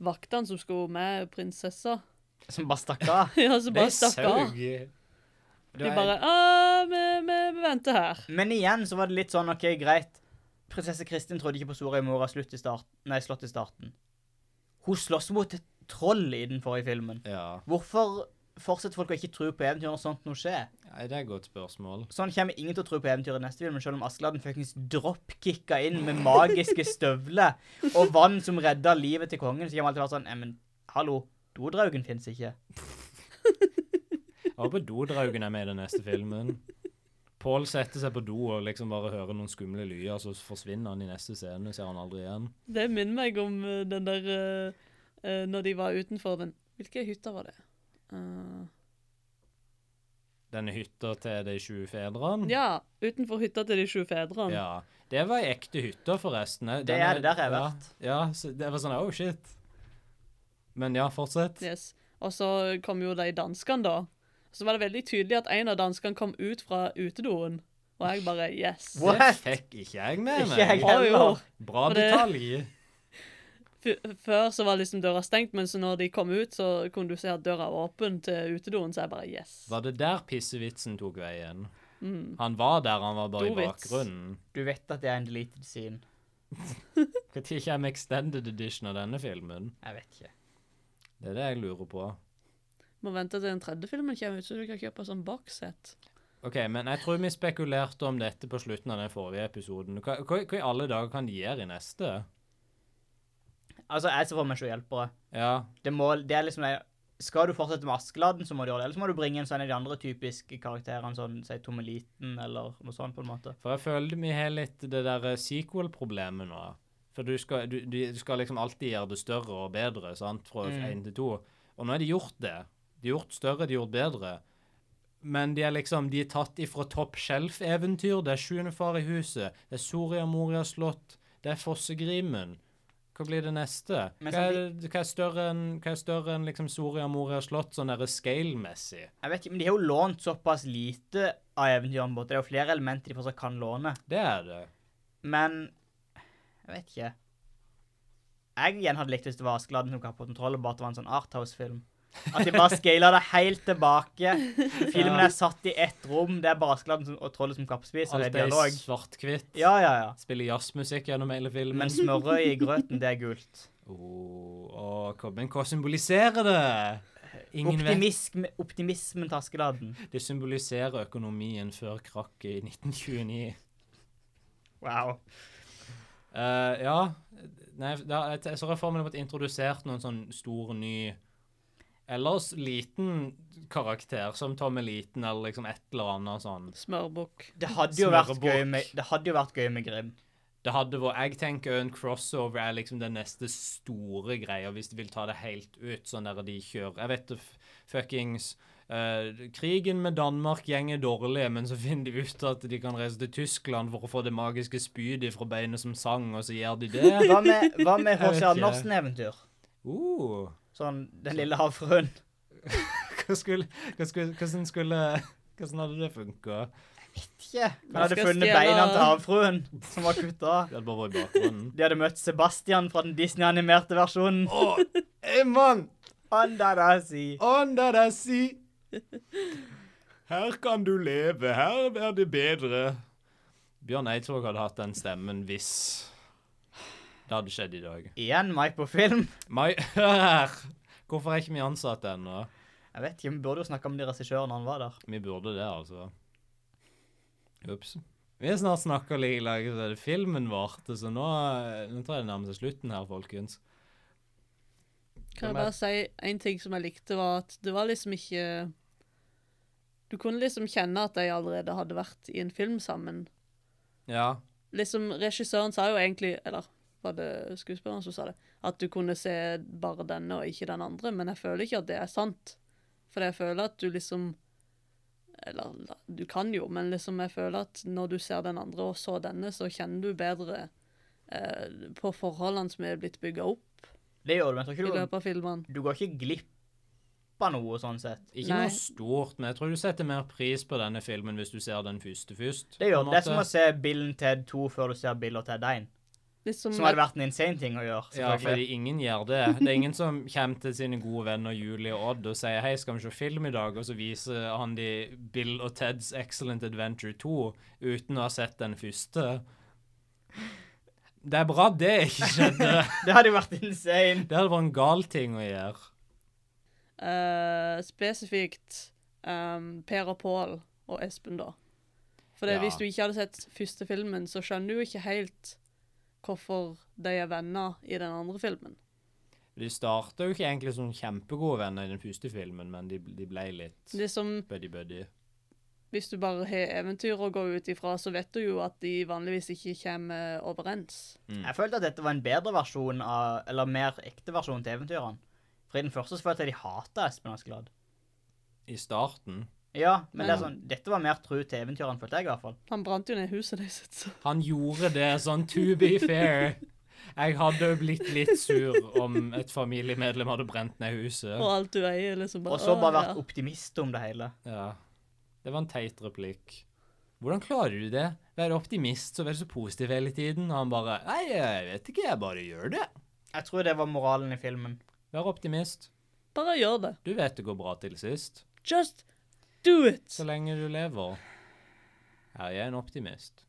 S3: vaktene som skulle med prinsessa.
S1: Som bare stakk av.
S3: ja, som bare stakk av.
S2: saug.
S3: De bare «Ah, vi, vi, vi venter her.
S1: Men igjen så var det litt sånn OK, greit. Prinsesse Kristin trodde ikke på Soria Moria slutt i starten, nei, slott i starten. Hun slåss mot et troll i den forrige filmen.
S2: Ja.
S1: Hvorfor fortsetter folk å ikke tro på eventyr når sånt noe skjer?
S2: Nei, det er et godt spørsmål.
S1: Sånn kommer ingen til å tro på eventyret i neste film, selv om Askeladden fuckings dropkicka inn med magiske støvler og vann som redda livet til kongen, så kommer alltid være sånn Neimen, hallo, dodraugen fins ikke.
S2: Jeg håper dodraugen er med i den neste filmen. Pål setter seg på do og liksom bare hører noen skumle lyder, så forsvinner han i neste scene, ser han aldri igjen.
S3: Det minner meg om eh, den der eh, eh, Når de var utenfor den Hvilke hytter var det? Eh,
S2: Denne hytta til de sju fedrene.
S3: ja, utenfor hytta til de sju fedrene.
S2: Ja. Det var ei ekte hytte, forresten. Den
S1: Det er det der jeg har
S2: ja,
S1: vært.
S2: Ja, så det var sånn oh shit. Men ja, fortsett.
S3: Yes. Og så kom jo de danskene, da. Så var det veldig tydelig at en av danskene kom ut fra utedoen. Og jeg bare Yes!
S1: What?
S2: Det fikk ikke jeg med meg.
S1: Ikke jeg
S3: Å, jo.
S1: heller.
S2: Bra
S3: For det-
S2: detalj.
S3: F før så var liksom døra stengt, men så når de kom ut, så kunne du se at døra var åpen til utedoen, så jeg bare Yes!
S2: Var det der pissevitsen tok veien?
S1: Mm.
S2: Han var der, han var bare i
S3: Stor vits.
S2: bakgrunnen.
S1: Du vet at det er en deleted scene.
S2: Når kommer extended edition av denne filmen?
S1: Jeg vet ikke.
S2: Det er det jeg lurer på.
S3: Må vente til den tredje filmen kommer ut, så du kan kjøpe sånn bokssett.
S2: OK, men jeg tror vi spekulerte om dette på slutten av den forrige episoden. Hva, hva, hva i alle dager kan de gjøre i neste?
S1: Altså, jeg ser for meg ikke hjelpere.
S2: Ja,
S1: Det, må, det er liksom det- Skal du fortsette med Askeladden, så må du gjøre det. Ellers må du bringe inn sånn en av de andre typiske karakterene, sånn si Tommeliten eller noe sånt, på en måte.
S2: For jeg føler vi har litt det der eh, sequel-problemet nå. For du skal, du, du du skal liksom alltid gjøre det større og bedre, sant, fra
S1: Mm.
S2: én til to. Og nå har de gjort det. De har gjort større, de har gjort bedre. Men de er liksom, de er tatt ifra Top Shelf-eventyr. Det er Sjuende far i huset. Det er Soria Moria slott. Det er Fossegrimen. Hva blir det neste?
S1: Men
S2: Hva er, hva er større enn hva er større enn liksom Soria Moria slott, sånn derre scale-messig?
S1: Jeg vet ikke, men de har jo lånt såpass lite av eventyrene våre. Det er jo flere elementer de fortsatt kan låne.
S2: Det er det.
S1: Men jeg vet ikke. Jeg igjen hadde likt hvis det var Askeladden som kappet kontroll, og bare at det var en sånn Arthouse-film. At de bare scala det helt tilbake. Filmen er satt i ett rom. Det er bare Askeladden som- og trollet som kappspiser. Det er
S2: Alt er i
S1: dialog.
S2: svart-hvitt.
S1: Ja, ja, ja.
S2: Spiller jazzmusikk gjennom hele filmen.
S1: Men smørøy i grøten, det er gult.
S2: Oh, hva- men hva symboliserer det? Ingen vet.
S1: Optimism, optimismen til Askeladden.
S2: Det symboliserer økonomien før krakket i 1929.
S1: Wow.
S2: Eh, ja Nei, da, jeg, jeg så jeg for meg det ble introdusert noen sånn stor, ny Ellers liten karakter, som Tommeliten eller liksom et eller annet sånn.
S3: Smørbukk.
S1: Det hadde jo vært
S2: Smørebok.
S1: gøy med, det hadde jo vært gøy med Grim.
S2: Det hadde vært Jeg tenker en crossover er liksom den neste store greia, hvis de vil ta det helt ut, sånn der de kjører Jeg vet det f- fuckings eh, Krigen med Danmark gjenger dårlig, men så finner de ut at de kan reise til Tyskland for å få det magiske spydet fra beinet som sang, og så gjør de det.
S1: Hva med, hva med
S2: Jeg
S1: H.C.
S2: vet ikke.
S1: Andersen-eventyr?
S2: Uh,
S1: Sånn Den lille havfruen.
S2: hva skulle, hva skulle, hvordan skulle Hvordan hadde det funka?
S1: Ikke. Men
S3: Nå
S1: hadde
S3: skal jeg
S1: funnet
S3: stjele-
S1: beina til havfruen, som var kutta av.
S2: Det hadde bare vært i bakgrunnen.
S1: De hadde møtt Sebastian fra den Disney-animerte versjonen.
S2: Å, hey, mann!
S1: Andadasi.
S2: Under the sea. Her kan du leve, her er det bedre. Bjørn Eidsvåg hadde hatt den stemmen hvis det hadde skjedd i dag.
S1: Igjen meg på film.
S2: Mai, hør! Hvorfor er ikke vi ansatt ennå?
S1: Jeg vet ikke, Vi burde jo snakke med de regissørene han var der.
S2: Vi burde det, altså. Ups. Vi har snart snakka like lenge som filmen varte, så nå, eh, nå tror jeg det nærmer seg slutten her, folkens.
S3: Kan jeg
S2: Hvem er-
S3: bare si en ting som jeg likte, var at det var liksom ikke Du kunne liksom kjenne at de allerede hadde vært i en film sammen.
S2: Ja.
S3: Liksom, Regissøren sa jo egentlig, eller var det skuespilleren som sa det, at du kunne se bare denne og ikke den andre, men jeg føler ikke at det er sant. For jeg føler at du liksom Eller du kan jo, men liksom jeg føler at når du ser den andre og så denne, så kjenner du bedre eh, på forholdene som er blitt bygga opp
S1: Det gjør du, men jeg
S3: i
S1: tror ikke
S3: løpet av filmene.
S1: du, du går ikke glipp av noe, sånn sett.
S2: Ikke
S3: Nei.
S2: noe stort, men jeg tror du setter mer pris på denne filmen hvis du ser den første først.
S1: Det gjør
S2: på en
S1: Det er som
S2: måte.
S1: å se Bill and Ted 2 før du ser Bill og Ted 1.
S3: Liksom,
S1: Som hadde vært en insane ting å gjøre.
S2: Ja,
S1: selvfølgelig.
S2: fordi ingen gjør det. Det er ingen som kommer til sine gode venner Julie og Odd og sier hei, skal vi se film i dag? Og så viser han de Bill og Teds Excellent Adventure 2 uten å ha sett den første. Det er bra det ikke skjedde.
S1: Det hadde jo vært insane.
S2: Det hadde vært en gal ting å gjøre.
S3: eh, spesifikt ehm, Per og Pål og Espen, da. For det,
S2: Ja.
S3: hvis du ikke hadde sett første filmen, så skjønner du ikke helt hvorfor de er venner i den andre filmen.
S2: De starta jo ikke egentlig som kjempegode venner i den første filmen, men de, de ble litt
S3: Det er som,
S2: buddy-buddy.
S3: hvis du bare har eventyr å gå ut ifra, så vet du jo at de vanligvis ikke kommer overens.
S2: Mm.
S1: Jeg følte at dette var en bedre versjon av Eller mer ekte versjon til eventyrene. For i den første så følte jeg de hata Espen Askeladd.
S2: I starten
S1: Ja, men det er
S3: Ja.
S1: sånn, dette var mer tru til eventyrene, følte jeg i hvert fall.
S3: Han brant jo ned huset deres. så-
S2: Han gjorde det sånn to be fair. Jeg hadde jo blitt litt sur om et familiemedlem hadde brent ned
S3: Og
S2: huset.
S3: alt du eier, liksom bare
S1: Og så bare
S3: «Åh,
S1: vært optimist om det hele.
S2: Ja. Det var en teit replikk. Hvordan klarer du det? Være optimist så være så positiv hele tiden. Og han bare Nei, jeg vet ikke, jeg bare gjør det.
S1: Jeg tror det var moralen i filmen.
S2: Vær optimist.
S3: ja. Bare gjør det.
S2: Du vet det går bra til sist.
S3: Just do it!
S2: Så lenge du lever. Ja, jeg er en optimist.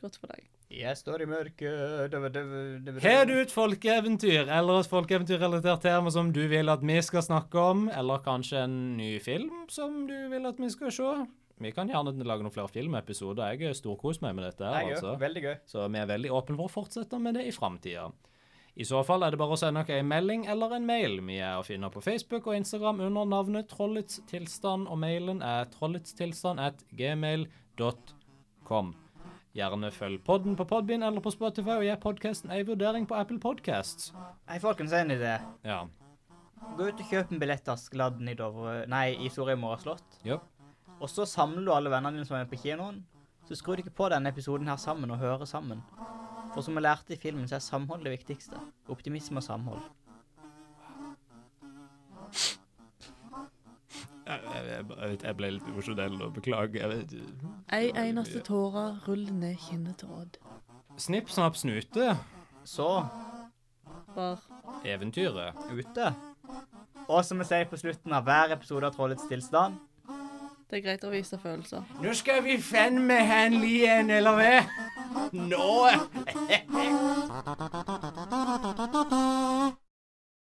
S3: Godt for deg.
S1: Jeg står i mørket døv, døv, døv, døv.
S2: Har du et folkeeventyr eller et folkeeventyrrelatert tema som du vil at vi skal snakke om, eller kanskje en ny film som du vil at vi skal se? Vi kan gjerne lage noen flere filmepisoder. Jeg storkoser meg med dette. her,
S1: Nei, gøy.
S2: altså.
S1: Veldig gøy.
S2: Så vi er veldig åpne for å fortsette med det i framtida. I så fall er det bare å sende oss en melding eller en mail. Vi er å finne på Facebook og Instagram under navnet Trollets tilstand, og mailen er trolletstilstand.gmail.com. Gjerne følg podden på Podbean eller på Spotify, og gi podkasten en vurdering på Apple Podcasts.
S1: Nei, folkens, en idé.
S2: Ja.
S1: Gå ut og kjøp en billett til Askeladden i Dovre... Nei, i Soria Moria slott.
S2: Jo.
S1: Og så samler du alle vennene dine som er med på kinoen. Så skrur dere på denne episoden her sammen og hører sammen. For som jeg lærte i filmen, så er samhold det viktigste. Optimisme og samhold.
S2: Jeg, ble litt emosjonell og beklager.
S3: Ei eneste tåre ruller ned kinnet til Odd.
S2: Snipp, snapp, snute.
S1: Så
S3: Var
S2: Eventyret.
S1: ute. Og som jeg sier på slutten av hver episode av Trollets tilstand
S3: det er greit å vise følelser.
S2: Nå skal vi fan med han Lien, eller hva? Nå!